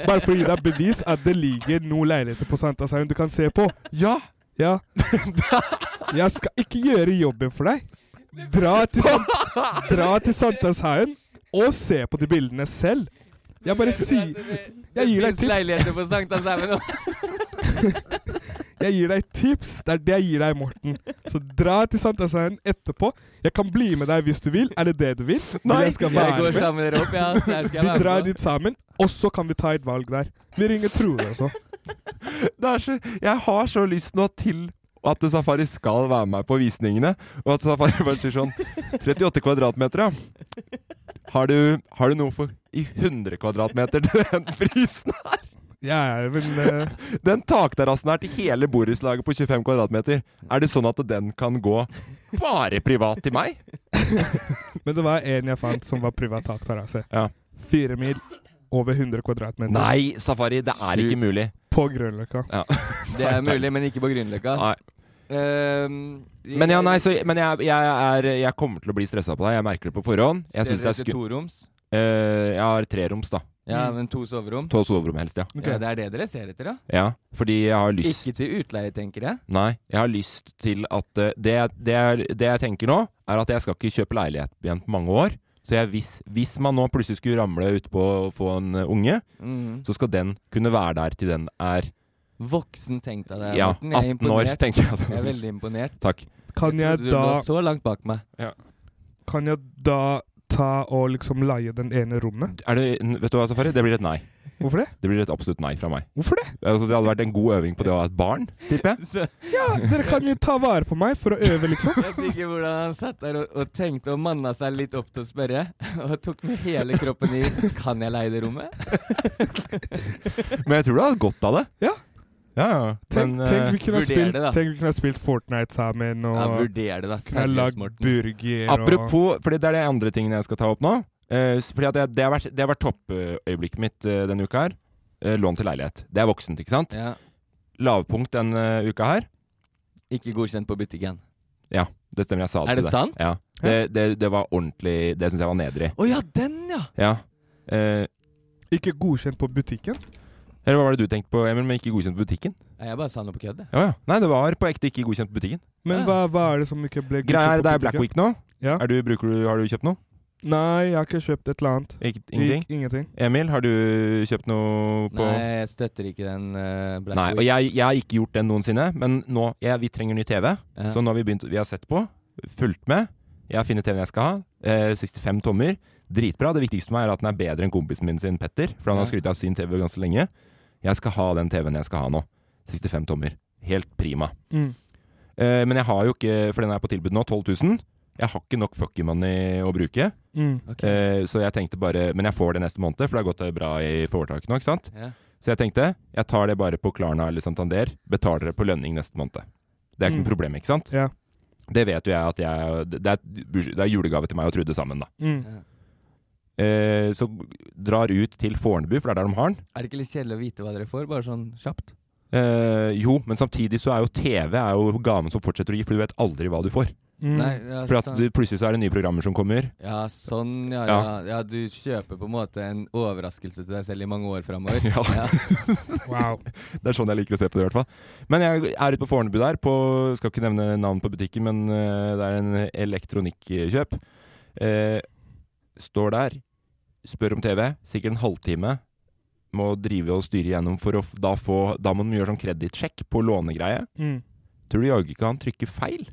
S3: Bare for å gi deg bevis at det ligger noen leiligheter på Sankthanshaugen du kan se på.
S2: Ja!
S3: Ja. Jeg skal ikke gjøre jobben for deg. Dra til, Sant- dra til Sankthanshaugen og se på de bildene selv. Jeg bare sier Jeg gir deg
S4: Det finnes
S3: tips.
S4: leiligheter på Sankthanshaugen nå.
S3: Jeg gir deg tips. Det er det jeg gir deg, Morten. Så dra til Sankthanshaugen etterpå. Jeg kan bli med deg hvis du vil. Er det det du vil? Vil
S2: Nei.
S3: jeg skal
S4: Jeg
S3: være
S4: går
S3: med.
S4: sammen med dere opp, ja. så her skal
S3: Vi
S4: jeg
S3: drar
S4: være med.
S3: dit sammen, og så kan vi ta et valg der. Vi ringer Frode også.
S2: det er så, jeg har så lyst nå til at Safari skal være med på visningene, og at Safari bare sier sånn 38 kvadratmeter, ja. Har du, har du noe for i 100 kvadratmeter til den prisen?
S3: Ja, ja, men eh,
S2: Den takterrassen her til hele borettslaget på 25 kvadratmeter, er det sånn at den kan gå bare privat til meg?
S3: Men det var en jeg fant som var privat takterrasse.
S2: Ja.
S3: Fire mil, over 100 kvadratmeter,
S2: Nei, Safari, det er ikke mulig.
S3: på Grønløkka.
S4: Det er mulig, men ikke på Grünerløkka.
S2: Nei.
S4: Ehm,
S2: Men, ja, nei, så, men jeg, jeg, er, jeg kommer til å bli stressa på deg. Jeg merker det på forhånd. Jeg,
S4: ser
S2: synes det
S4: dere
S2: er sku...
S4: toroms?
S2: Eh, jeg har treroms, da.
S4: Ja,
S3: Mm.
S4: men to soverom?
S2: To soverom helst, ja.
S3: Ok.
S4: Ja, det er det dere ser etter, ja?
S2: ja. Fordi jeg har lyst
S4: Ikke til utleie, tenker jeg.
S2: Nei, jeg har lyst til at eh, det, det, er- det jeg tenker nå, er at jeg skal ikke kjøpe leilighet igjen på mange år. Så jeg, hvis, hvis man nå plutselig skulle ramle utpå og få en eh, unge,
S4: Mm.
S2: så skal den kunne være der til den er
S4: Voksen tenkt av deg,
S2: Ja,
S4: Morten. Jeg er
S2: 18 år,
S4: imponert.
S2: tenker jeg.
S4: Jeg er veldig imponert.
S2: Takk.
S3: Kan jeg,
S4: trodde du
S3: da,
S4: lå så langt bak meg.
S3: kan jeg da ta og liksom leie den ene rommet?
S2: Er det, vet du hva, Safari? Det blir et nei.
S3: Hvorfor det?
S2: Det blir et absolutt nei fra meg.
S3: Hvorfor det?
S2: Altså, det hadde vært en god øving på det å ha et barn, tipper jeg.
S3: Ja, Dere kan jo ta vare på meg for å øve, liksom.
S4: Jeg digger hvordan han satt der og, og tenkte og manna seg litt opp til å spørre. Og tok med hele kroppen i Kan jeg leie det rommet?
S2: Men jeg tror du hadde hatt godt av det.
S3: Ja.
S2: Ja, ja.
S3: Tenk,
S2: Men,
S3: tenk,
S2: eh,
S3: vi kunne ha
S4: vurder
S3: spilt,
S4: det, da.
S3: tenk vi kunne ha spilt Fortnite sammen, og
S4: Ja, vurder det, da.
S3: kunne ha
S4: Seriøst,
S3: lagd
S4: Morten.
S3: burger og
S2: Apropos, for det er de andre tingene jeg skal ta opp nå. Eh, s- fordi at jeg, det har vært, det har vært toppøyeblikket mitt eh, denne uka her. Eh, lån til leilighet. Det er voksent, ikke sant?
S4: Ja.
S2: Lavpunkt denne eh, uka her.
S4: Ikke godkjent på butikken.
S2: Det stemmer, jeg sa det
S4: Er det
S2: til deg.
S4: sant?
S2: Ja. Det, det, det var ordentlig Det syns jeg var nedrig.
S4: Å ja, den, ja!
S2: Ja. Eh,
S3: Ikke godkjent på butikken.
S2: eller hva var det du tenkte på, Emil, men ikke godkjent på butikken?
S4: Nei, Jeg bare sa noe på kødd. jeg.
S2: Ja, ja. Nei, det var på ekte ikke godkjent på butikken.
S3: Men
S4: Ja.
S3: hva, hva er det som ikke ble
S2: Greia er,
S3: godkjent
S2: det
S3: på
S2: er Black
S3: butikken?
S2: Week nå.
S3: Ja.
S2: Er du, bruker du, har du kjøpt noe?
S3: Nei, jeg har ikke kjøpt et eller annet.
S2: Ikke, ingenting?
S3: Ik- Ingenting.
S2: Emil, har du kjøpt noe på
S4: Nei, jeg støtter ikke den eh, Black
S2: Nei, og
S4: Week.
S2: jeg, jeg har ikke gjort den noensinne, men nå, jeg, vi trenger ny TV.
S4: Ja.
S2: Så nå har vi begynt, vi har sett på, fulgt med. Jeg har funnet TV-en jeg skal ha. Eh, 65 tommer. Dritbra. Det viktigste for meg er at den er bedre enn kompisen min sin, Petter. For han har
S4: Ja.
S2: skrytt av sin TV ganske lenge. Jeg skal ha den TV-en jeg skal ha nå. 65 tommer. Helt prima.
S3: Mm.
S2: Eh, men jeg har jo ikke, for den er på tilbud nå, 12 000. Jeg har ikke nok fucking money å bruke.
S3: Mm.
S4: Ok.
S2: Eh, så jeg tenkte bare Men jeg får det neste måned, for det har gått eh, bra i foretaket nå, ikke sant?
S4: Ja.
S2: Så jeg tenkte, jeg tar det bare på Klarna eller Santander, betaler det på lønning neste måned. Det er ikke
S3: Mm.
S2: noe problem, ikke sant?
S3: Ja.
S2: Det vet jo jeg at jeg Det er, det er julegave til meg og Trude sammen, da.
S3: Mm.
S4: Ja.
S2: Eh, så drar ut til Fornebu, for det er der de har den.
S4: Er det ikke litt kjedelig å vite hva dere får, bare sånn kjapt?
S2: Eh, jo, men samtidig så er jo TV er jo gaven som fortsetter å gi, for du vet aldri hva du får.
S3: Mm.
S4: Nei, ja,
S2: For at
S4: sånn.
S2: du, plutselig så er det nye programmer som kommer.
S4: Ja, sånn, ja, ja. ja.
S2: Ja.
S4: du kjøper på en måte en overraskelse til deg selv i mange år framover.
S2: Ja.
S3: Wow.
S2: Det er sånn jeg liker å se på det, i hvert fall. Men jeg er ute på Fornebu der, på Skal ikke nevne navn på butikken, men eh, det er en elektronikkjøp. Eh, står der, spør om TV, sikkert en halvtime. Må drive og styre gjennom for å f- da få Da må de gjøre sånn kredittsjekk på lånegreie.
S3: Mm.
S2: Tror du jaggu ikke han trykker feil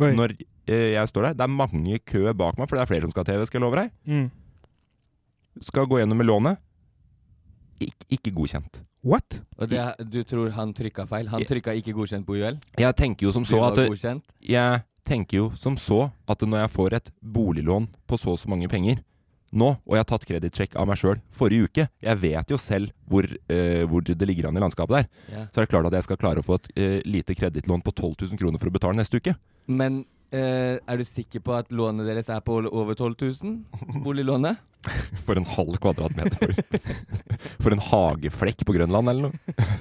S3: Oi.
S2: når eh, jeg står der? Det er mange i kø bak meg, for det er flere som skal ha TV, skal jeg love deg.
S3: Mm.
S2: Skal gå gjennom med lånet. Ik ikke godkjent.
S3: What?
S4: Og det, du tror han trykka feil? Han
S2: Ja.
S4: trykka ikke godkjent på UL?
S2: Jeg tenker jo som
S4: Du
S2: så
S4: var
S2: at eh, det,
S4: godkjent?
S2: jeg tenker jo som så at når jeg får et boliglån på så og så mange penger nå, og jeg har tatt kredittsjekk av meg sjøl forrige uke Jeg vet jo selv hvor, eh, hvor det ligger an i landskapet der.
S4: Ja.
S2: Så er det klart at jeg skal klare å få et eh, lite kredittlån på 12 000 kroner for å betale neste uke.
S4: Men eh, er du sikker på at lånet deres er på over 12 000? Boliglånet?
S2: For en halv kvadratmeter. For, for en hageflekk på Grønland eller noe.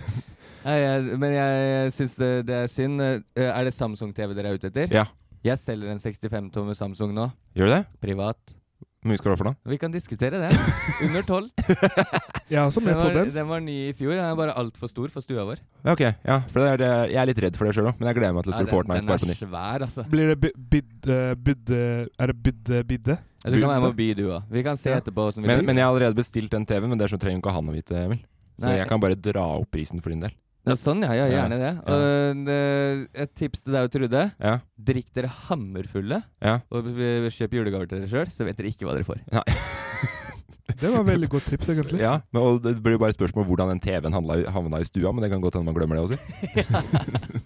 S4: Nei, jeg, men jeg syns det, det er synd. Eh, er det Samsung-TV dere er ute etter?
S2: Ja.
S4: Jeg selger en 65-tommer Samsung nå.
S2: Gjør du det?
S4: Privat.
S2: Hvor mye skal du ha for noe?
S4: Vi kan diskutere det. Under 12.
S3: Jeg er også med
S4: Den
S3: på
S4: var,
S3: den.
S4: den var ny i fjor. Den er bare altfor stor for stua vår.
S2: Ja, ok. Ja, for det er, det, jeg er litt redd for det sjøl òg, men jeg gleder meg til å
S4: Ja,
S2: spille
S4: den,
S2: Fortnite
S4: den
S2: bare på
S4: er
S2: nytt.
S4: svær, altså.
S3: Blir det bi- bidde
S2: eh,
S3: bidde Er det bidde bidde?
S4: Jeg tror ikke jeg må
S3: Bunte.
S4: by, Altså, du òg. Vi kan se
S3: Ja.
S4: etterpå. Som vi
S2: Men,
S4: blir.
S2: men jeg har allerede bestilt den TV-en, men det er så trenger jo ikke han å vite, Emil. Så
S4: Nei.
S2: jeg kan bare dra opp prisen for din del.
S4: ja, sånn, ja. ja
S2: Ja.
S4: gjerne det.
S2: Ja.
S4: Og, eh, et tips til deg og Trude.
S2: Ja,
S4: Drikk dere hammerfulle,
S2: ja.
S4: og eh, kjøp julegaver til dere sjøl, så vet dere ikke hva dere får.
S3: Det var veldig godt tips, egentlig.
S2: Ja, men, og Det blir jo bare spørsmål om hvordan den TV-en handla- havna i stua, men det kan godt hende man glemmer det også.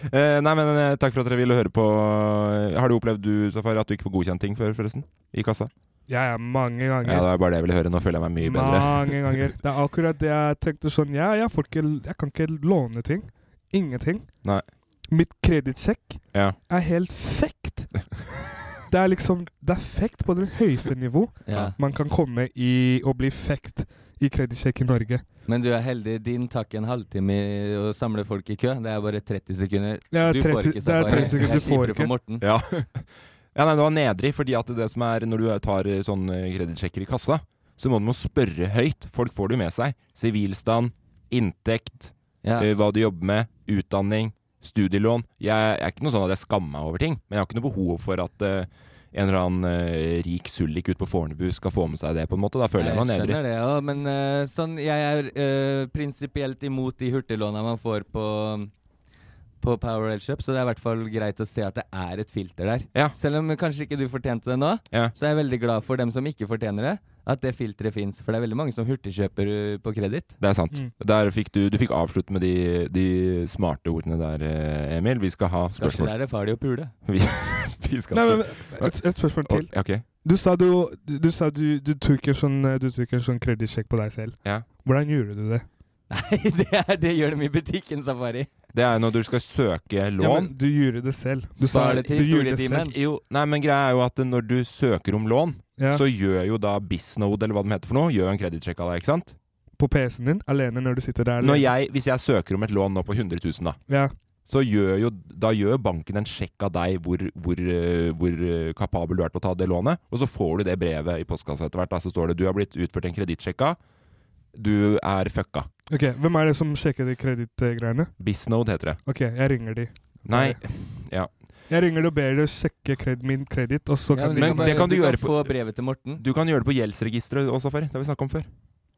S2: Eh, nei, men eh, Takk for at dere ville høre på. Har du opplevd du, Safari, at du ikke får godkjent ting før, forresten? I kassa?
S3: Jeg er mange
S2: Ja,
S3: ganger.
S2: Det var bare det jeg ville høre. Nå føler jeg meg mye bedre.
S3: Mange ganger. Det er akkurat det jeg tenkte sånn Ja, jeg, får ikke, jeg kan ikke låne ting. Ingenting.
S2: Nei.
S3: Mitt kredittsjekk
S2: Ja.
S3: er helt fekt. Det er liksom Det er fekt på det høyeste nivå
S4: Ja.
S3: man kan komme i å bli fekt i kredittsjekk i Norge.
S4: Men du er heldig. Din takk en halvtime i å samle folk i kø. Det er bare 30 sekunder.
S3: Det er
S4: Du
S3: 30,
S4: får ikke
S3: det er
S4: safari.
S3: 30 sekunder
S4: Det er
S3: du får
S4: kjipere
S3: ikke.
S4: for Morten.
S2: Ja. ja, nei, det var nedrig, fordi at det som er når du tar eh, sånn eh, kredittsjekker i kassa, så må du må spørre høyt. Folk får det jo med seg. Sivilstand, inntekt,
S4: Ja.
S2: eh, hva du jobber med, utdanning, studielån. Jeg, jeg er ikke noe sånn at jeg skammer meg over ting, men jeg har ikke noe behov for at eh, en eller annen eh, rik sullik ute på Fornebu skal få med seg det, på en måte. Da føler jeg meg
S4: Jeg
S2: nedrig.
S4: skjønner det òg, men eh, sånn, jeg er eh, prinsipielt imot de hurtiglåna man får på, på Power Rail Shop, så det er i hvert fall greit å se at det er et filter der.
S2: Ja.
S4: Selv om kanskje ikke du fortjente det nå,
S2: Ja.
S4: så er jeg veldig glad for dem som ikke fortjener det, at det filteret fins. For det er veldig mange som hurtigkjøper eh, på kreditt.
S2: Det er sant.
S3: Mm.
S2: Der fikk du, du fikk avslutte med de, de smarte ordene der, eh, Emil. Vi skal ha
S4: Kanskje
S2: spørsmål.
S4: der er farlig å pule.
S2: Vi, vi skal
S3: Nei, men et, et spørsmål til.
S2: Ok.
S3: Du sa du, du, sa du, du tok en sånn, eh, du tok en sånn kredittsjekk på deg selv.
S2: Ja.
S3: Hvordan gjorde du det?
S4: Nei, det, er, det gjør de i butikken, Safari.
S2: Det er jo når du skal søke lån.
S3: Ja, men du gjorde det selv. Du
S4: Spar det til
S3: du gjorde det
S4: historietimen.
S3: selv.
S2: Jo, nei, men greia er jo at når du søker om lån,
S3: Ja,
S2: så gjør jo da Bisnode, eller hva de heter for noe, gjør en kredittsjekk av deg, ikke sant?
S3: på PC-en din, alene når du sitter der.
S2: Når jeg, hvis jeg søker om et lån nå på 100 000, da,
S3: ja.
S2: så gjør jo, da gjør banken en sjekk av deg hvor, hvor, eh, hvor eh, kapabel du er til å ta det lånet, og så får du det brevet i postkassa etter hvert. Da, så står det du har blitt utført en kredittsjekk av, du er fucka.
S3: Ok, Hvem er det som sjekker de kredittgreiene?
S2: Bisnode heter det.
S3: Ok, jeg ringer de.
S2: Nei,
S3: Jeg ringer de og ber de sjekke kred min kreditt, og så
S4: Ja,
S3: kan
S2: men
S3: de
S2: det
S3: komme-
S2: det kan du gjøre
S4: på Få brevet til Morten.
S2: du kan gjøre det på gjeldsregisteret også, Ferry. Det har vi snakket om før.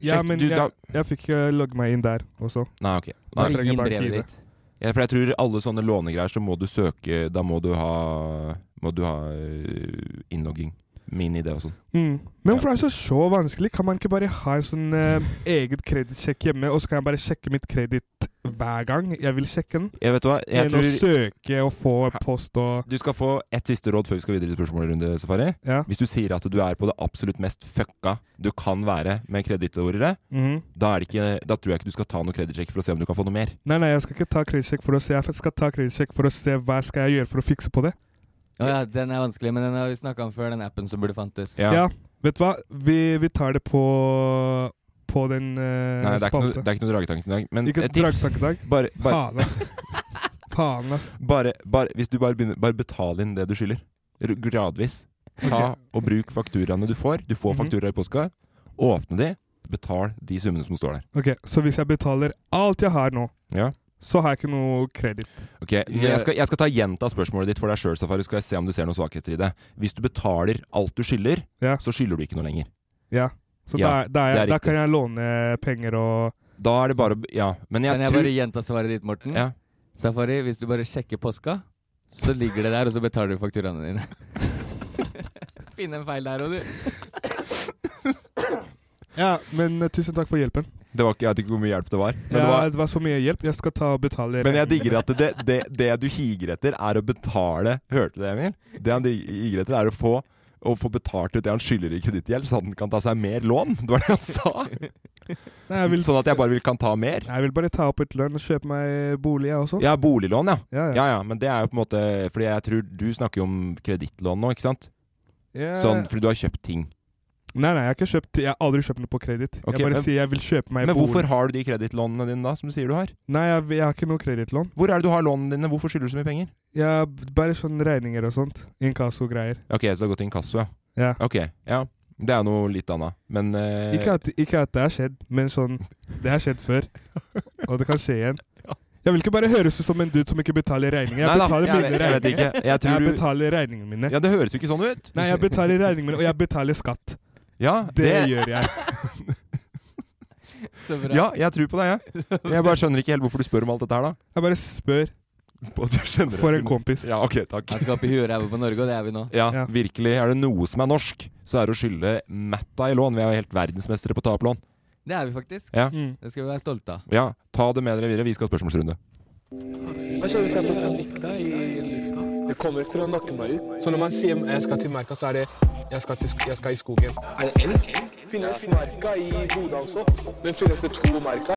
S3: Ja,
S2: Sjekk,
S3: men
S2: du,
S3: jeg, jeg fikk eh, logge meg inn der også.
S2: Nei, ok. Nei,
S4: Bare
S3: trenger
S4: gi inn
S3: bare
S4: brevet
S3: knive.
S4: ditt.
S2: Ja, for jeg tror alle sånne lånegreier så må du søke Da må du ha, må du ha øh, innlogging. Min idé og sånn.
S3: Mm. Men hvorfor er det så, så vanskelig? Kan man ikke bare ha en sånn eh, eget kredittsjekk hjemme, og så kan jeg bare sjekke mitt kreditt hver gang jeg vil sjekke den?
S2: Jeg vet hva, jeg
S3: Enn å
S2: tror
S3: søke og få post og
S2: du skal få ett siste råd før vi skal videre til spørsmålsrunde, Safari.
S3: Ja.
S2: Hvis du sier at du er på det absolutt mest fucka du kan være med kredittorere,
S3: Mhm.
S2: da, er det ikke- da tror jeg ikke du skal ta noe kredittsjekk for å se om du kan få noe mer.
S3: Nei, nei, jeg skal ikke ta kredittsjekk for å se. Jeg skal ta kredittsjekk for å se hva skal jeg gjøre for å fikse på det.
S4: Å ja, den er vanskelig, men den har vi snakka om før, den appen som burde fantes.
S2: Ja.
S3: Ja. Vet du hva? Vi, vi tar det på på den eh,
S2: Nei, det er ikke noe,
S3: spalte.
S2: det er ikke noe dragetanke i dag. Men
S3: Ikke
S2: et tips
S3: dragstank i dag.
S2: bare, bare,
S3: Faen, ass. Faen, ass.
S2: bare, bare, Hvis du bare begynner Bare betal inn det du skylder. R- Gradvis. Ta og bruk fakturaene du får. Du får
S3: Mhm.
S2: fakturaer i påska. Åpne de, betal de summene som står der.
S3: Ok, Så hvis jeg betaler alt jeg har nå,
S2: Ja.
S3: så har jeg ikke noe kreditt?
S2: Ok, men jeg skal, jeg skal ta gjenta spørsmålet ditt for deg sjøl, Safari. Skal jeg se om du ser noen svakheter i det. Hvis du betaler alt du skylder,
S3: Ja.
S2: så skylder du ikke noe lenger.
S3: Ja. Så
S2: Ja,
S3: da, da, er,
S2: det er
S3: jeg- da
S2: riktig.
S3: kan jeg låne penger og
S2: Da er det bare å b- Ja. Men jeg,
S4: Kan jeg
S2: tror
S4: bare gjenta svaret ditt, Morten?
S2: ja.
S4: Safari, hvis du bare sjekker påska, så ligger det der, og så betaler du fakturaene dine. Finn en feil der òg, du.
S3: Ja, men eh, tusen takk for hjelpen.
S2: Det var ikke, jeg vet ikke hvor mye hjelp det var. Men,
S3: ja,
S2: det var,
S3: det var så mye hjelp. Jeg skal ta og betale
S2: men jeg digger at det, det, det du higer etter, er å betale Hørte du det, Emil? Det han dig- higer etter, er å få å få betalt ut det han skylder i kredittgjeld, så han kan ta seg mer lån. Det var det han sa.
S3: Nei, jeg, vil,
S2: Sånn at jeg bare vil, kan ta mer.
S3: jeg vil bare ta opp et lønn og kjøpe meg bolig, jeg også.
S2: Ja, boliglån, ja.
S3: Ja, ja.
S2: Ja, ja, men det er jo på en måte Fordi jeg tror du snakker jo om kredittlån nå, ikke sant?
S3: Jeg-
S2: Sånn, fordi du har kjøpt ting.
S3: Nei, nei, jeg har, ikke kjøpt, jeg har aldri kjøpt noe på kreditt.
S2: Ok,
S3: jeg bare
S2: men-
S3: sier jeg vil kjøpe meg
S2: Men
S3: bolig.
S2: hvorfor har du de kredittlånene dine da, som du sier du har?
S3: Nei, jeg, jeg har ikke noe kredittlån.
S2: Hvor er det du har lånene dine? Hvorfor skylder du så mye penger?
S3: Jeg Bare sånn regninger og sånt. Inkasso-greier.
S2: Ok, så det har gått inkasso, ja.
S3: Ja.
S2: Ok, ja. Det er noe litt annet. Men eh,
S3: Ikke at, ikke at det har skjedd, men sånn Det har skjedd før, og det kan skje igjen. Jeg vil ikke bare høres ut som en dude som ikke betaler regninger.
S2: Nei
S3: Jeg
S2: da,
S3: betaler
S2: jeg,
S3: mine
S2: vet- jeg vet
S3: regninger.
S2: ikke. Jeg tror
S3: Jeg
S2: du
S3: betaler regningene mine.
S2: Ja, det høres jo ikke sånn ut.
S3: Nei, jeg betaler regningene mine, og jeg betaler skatt.
S2: Ja,
S3: Det,
S2: det,
S3: gjør jeg.
S4: Så bra.
S2: ja jeg tror på deg, jeg. Jeg bare skjønner ikke helt hvorfor du spør om alt dette her, da.
S3: Jeg bare spør
S2: På- du skjønner
S3: for
S2: det.
S3: en kompis.
S2: Ja, ok, takk.
S4: Han skal opp i huet og ræva på Norge, og det er vi nå.
S2: Ja,
S3: Ja.
S2: virkelig. Er det noe som er norsk, så er det å skylde matta i lån. Vi er jo helt verdensmestere på å ta opp lån.
S4: Det er vi faktisk.
S2: Ja.
S3: Mm.
S4: Det skal vi være stolte av.
S2: Ja, ta det med dere videre. Vi skal ha spørsmålsrunde.
S5: Hva skjer hvis jeg får panikk i lufta? Det kommer ikke til å nakke meg ut.
S6: Så når man sier jeg skal til merka, så er det jeg skal, til, sk- jeg skal i skogen.
S5: Er det elg? Finnes merka i Bodø også? Men finnes det to merka?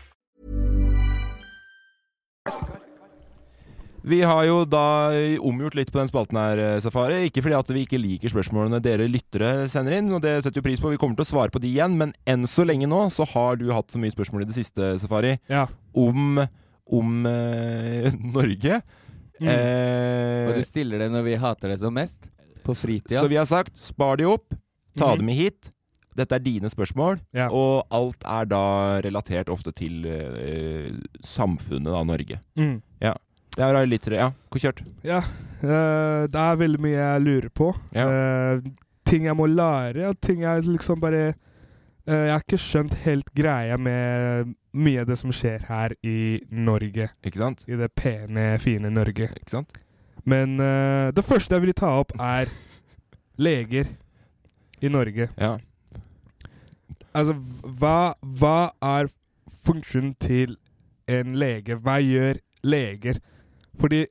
S2: Vi har jo da omgjort litt på den spalten her, eh, Safari. Ikke fordi at vi ikke liker spørsmålene dere lyttere sender inn, og det setter jo pris på. Vi kommer til å svare på de igjen, men enn så lenge nå så har du hatt så mye spørsmål i det siste, Safari,
S3: Ja.
S2: om, om eh, Norge.
S3: Mm.
S2: Eh,
S4: Og du stiller det når vi hater det som mest? På fritida?
S2: Så vi har sagt, spar de opp, ta
S3: Mhm.
S2: dem med hit. Dette er dine spørsmål,
S3: Ja.
S2: og alt er da relatert ofte til eh, samfunnet av Norge.
S3: Mm.
S2: Det er litt Ja, kjørt.
S3: Eh, det er veldig mye jeg lurer på.
S2: Ja.
S3: Eh, ting jeg må lære, og ting jeg liksom bare eh, Jeg har ikke skjønt helt greia med mye av det som skjer her i Norge.
S2: Ikke sant?
S3: I det pene, fine Norge.
S2: Ikke sant?
S3: Men eh, det første jeg vil ta opp, er leger i Norge.
S2: Ja.
S3: Altså, hva, hva er funksjonen til en lege? Hva gjør leger? Fordi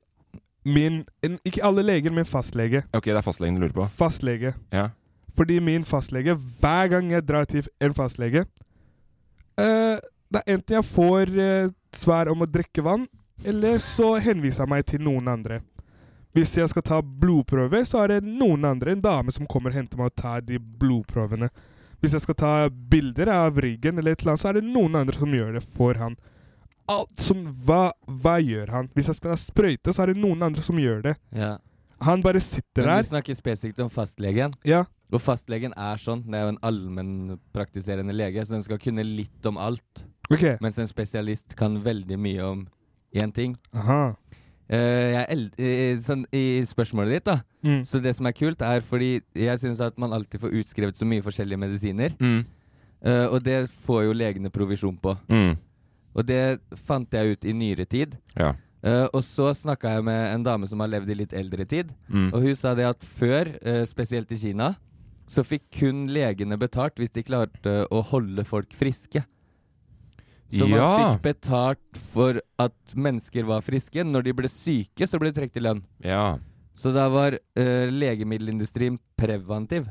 S3: min en, Ikke alle leger, men fastlege.
S2: Ok, det er fastlegen du lurer på.
S3: Fastlege.
S2: Ja.
S3: Fordi min fastlege, hver gang jeg drar til en fastlege eh, Det er enten jeg får eh, svar om å drikke vann, eller så henviser jeg meg til noen andre. Hvis jeg skal ta blodprøver, så er det noen andre, en dame, som kommer og henter meg og tar de blodprøvene. Hvis jeg skal ta bilder av ryggen, eller et eller annet, så er det noen andre som gjør det for han. Alt som, hva, hva gjør han? Hvis jeg skal ha sprøyte, så er det noen andre som gjør det.
S4: ja.
S3: Han bare sitter
S4: Men du
S3: der.
S4: snakker spesifikt om fastlegen.
S3: Ja.
S4: Og fastlegen er sånn. Det er jo en allmennpraktiserende lege, så den skal kunne litt om alt.
S3: Ok.
S4: Mens en spesialist kan veldig mye om én ting.
S3: Aha.
S4: Eh, jeg eld eh, sånn, I spørsmålet ditt, da.
S3: Mm.
S4: Så det som er kult, er fordi jeg syns at man alltid får utskrevet så mye forskjellige medisiner.
S2: Mm.
S4: eh, og det får jo legene provisjon på. Og det fant jeg ut i nyere tid.
S2: Mm, Ja.
S4: Eh, og så snakka jeg med en dame som har levd i litt eldre tid.
S2: Mm.
S4: Og hun sa det at før, eh, spesielt i Kina, så fikk kun legene betalt hvis de klarte å holde folk friske. Så man
S2: Ja.
S4: fikk betalt for at mennesker var friske. Når de ble syke, så ble det trukket i lønn.
S2: ja.
S4: Så da var eh, legemiddelindustrien preventiv.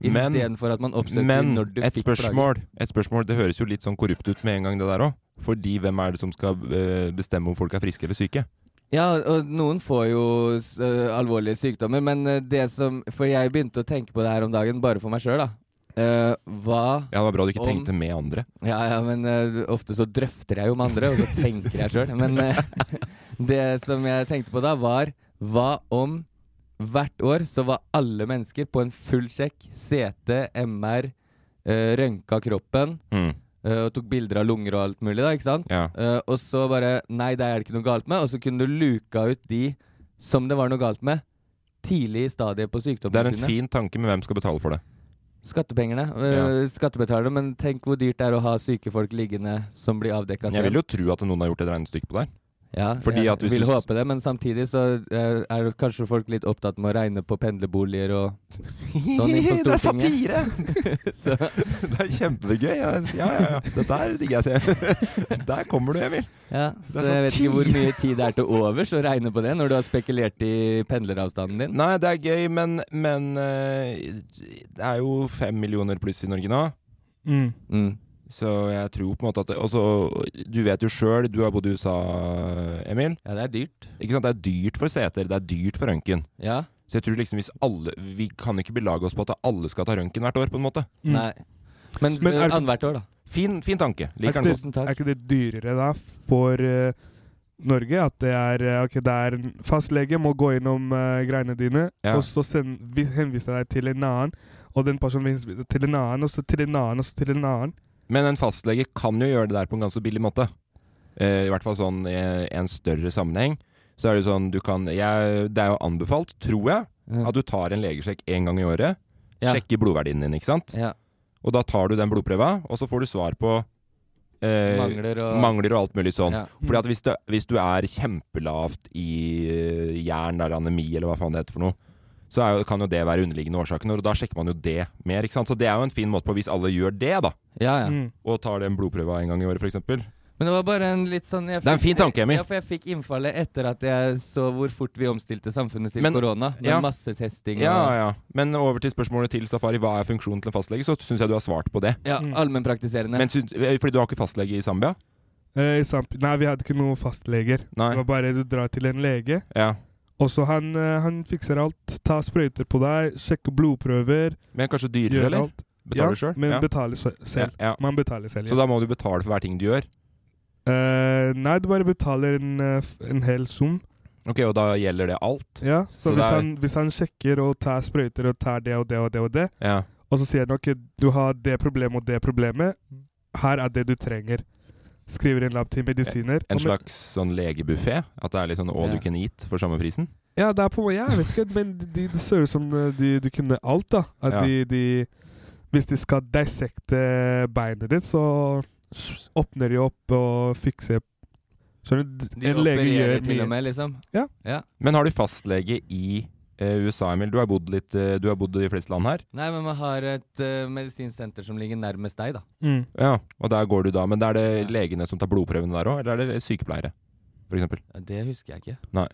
S2: Men-
S4: Istedenfor at man oppsøkte
S2: Men
S4: når du
S2: et
S4: fikk plager.
S2: spørsmål. et spørsmål. Det høres jo litt sånn korrupt ut med en gang, det der òg. Fordi hvem er det som skal eh, bestemme om folk er friske eller syke?
S4: Ja, og noen får jo s- ø, alvorlige sykdommer, men ø, det som For jeg begynte å tenke på det her om dagen, bare for meg sjøl, da. Eh, hva
S2: Ja, det var bra du ikke
S4: Om-
S2: tenkte med andre.
S4: Ja, ja, men ø, ofte så drøfter jeg jo med andre, og så tenker jeg sjøl. Men ø, det som jeg tenkte på da, var hva om hvert år så var alle mennesker på en full sjekk, CT, MR, uh, rønka kroppen
S2: Mm.
S4: ø, og tok bilder av lunger og alt mulig, da, ikke sant?
S2: Ja.
S4: Eh, og så bare Nei, det er det ikke noe galt med. Og så kunne du luka ut de som det var noe galt med, tidlig i stadiet på
S2: Det er
S4: sykdommene
S2: en
S4: sine.
S2: fin tanke, men hvem skal betale for det?
S4: Skattepengene. eh, Skattebetalere. Men tenk hvor dyrt det er å ha syke folk liggende som blir avdekka
S2: Jeg vil jo tro at noen har gjort et regnestykke på det. her.
S4: Ja,
S2: Fordi
S4: jeg
S2: at hvis
S4: vil
S2: du s-
S4: håpe det, men samtidig så eh, er kanskje folk litt opptatt med å regne på pendlerboliger og sånn inn på
S2: Det er
S4: Stortinget.
S2: satire! det er kjempegøy. Ja, ja, ja. Dette her digger jeg ser. Der kommer du, Emil.
S4: Ja,
S2: Det
S4: så
S2: er sånn
S4: jeg vet ikke hvor
S2: satire.
S4: mye tid det er til overs å regne på det, når du har spekulert i pendleravstanden din.
S2: Nei, det er gøy, men, men eh, det er jo fem millioner pluss i Norge nå.
S3: Mm.
S2: Så jeg tror på en måte at det- Og så, du vet jo sjøl, du har bodd i USA, Emil.
S4: Ja, det er dyrt.
S2: Ikke sant? Det er dyrt for seter, det er dyrt for røntgen.
S4: Ja.
S2: Så jeg tror liksom hvis alle Vi kan ikke belage oss på at alle skal ta røntgen hvert år, på en måte.
S3: Mm.
S4: Nei. Men,
S3: Men
S4: men
S3: er det-
S4: annethvert år, da.
S2: Fin, fin tanke.
S3: Er
S2: Liker
S3: ikke,
S2: den godt.
S4: Tusen
S3: det,
S4: takk.
S3: er ikke det dyrere da for eh, Norge at det er eh, Ok, det er en fastlege må gå innom eh, greiene dine,
S2: Ja.
S3: og så send, vi- henvise deg til en annen, og den personen henviser deg til en annen, og så til en annen, og så til en annen.
S2: Men en fastlege kan jo gjøre det der på en ganske billig måte. Eh, I hvert fall sånn i en større sammenheng. Så er det jo sånn du kan jeg, Det er jo anbefalt, tror jeg,
S4: Ja.
S2: at du tar en legesjekk én gang i året.
S4: Mm. Ja.
S2: Sjekker blodverdien din, ikke sant.
S4: Ja.
S2: Og da tar du den blodprøva, og så får du svar på eh,
S4: Mangler og-
S2: mangler og alt mulig sånn.
S4: Ja.
S2: Fordi at hvis du, hvis du er kjempelavt i eh, jern eller anemi, eller hva faen det heter for noe, så er jo, kan jo det være underliggende årsaken, og da sjekker man jo det mer. ikke sant? Så det er jo en fin måte på, hvis alle gjør det, da,
S4: Ja, ja.
S3: Mm.
S2: og tar den blodprøva en gang i året, f.eks.
S4: Men det var bare en litt sånn jeg
S2: Det er en
S4: fikk-
S2: fin tanke, Emil.
S4: Ja, for jeg fikk innfallet etter at jeg så hvor fort vi omstilte samfunnet til
S2: Men-
S4: korona. Med
S2: ja.
S4: massetesting og
S2: Ja, ja. Men over til spørsmålet til Safari, hva er funksjonen til en fastlege? Så syns jeg du har svart på det.
S4: Ja,
S3: Mm.
S4: allmennpraktiserende.
S2: Men syns- eh, fordi du har ikke fastlege i Zambia?
S3: Eh, i Samp nei, vi hadde ikke noen fastleger.
S2: Nei.
S3: Det var bare du drar til en lege,
S2: Ja.
S3: og så han, eh, han fikser alt. Ta sprøyter på deg, sjekker blodprøver.
S2: Men kanskje dyrere,
S3: gjør
S2: eller?
S3: alt.
S2: Betaler du
S3: ja,
S2: sjøl?
S3: men betaler se- selv.
S2: Ja, ja.
S3: Man betaler selv, ja.
S2: Så da må du betale for hver ting du gjør?
S3: Eh, nei, du bare betaler en, eh, f- en hel sum.
S2: Ok, og da gjelder det alt?
S3: Ja,
S2: Så
S3: så,
S2: det
S3: hvis,
S2: er-
S3: han, hvis han sjekker og tar sprøyter og tar det og det og det og det,
S2: Ja.
S3: og så sier han ok, du har det problemet og det problemet, her er det du trenger. Skriver en lapp til medisiner.
S2: En
S3: og med-
S2: slags sånn legebuffé? At det er litt sånn all
S4: Ja.
S2: you can eat for samme prisen?
S3: Ja, det er på Jeg vet ikke, men det de, det ser ut som eh, de, de kunne alt, da. At
S2: Ja.
S3: de, de Hvis de skal dissekte beinet ditt, så s- åpner de opp og fikser Skjønner du? D-
S4: de
S3: En lege
S4: opererer
S3: gjør
S4: til og
S3: mye.
S4: med, liksom.
S3: Ja.
S2: Men har du fastlege i eh, USA, Emil? Du har bodd litt eh, Du har bodd i de fleste land her?
S4: Nei, men man har et eh, medisinsenter som ligger nærmest deg, da.
S3: Mm.
S2: Ja, og der går du da. Men er det
S4: Ja.
S2: legene som tar blodprøvene der òg, eller er det sykepleiere? For eksempel.
S4: Ja, Det husker jeg ikke.
S2: Nei.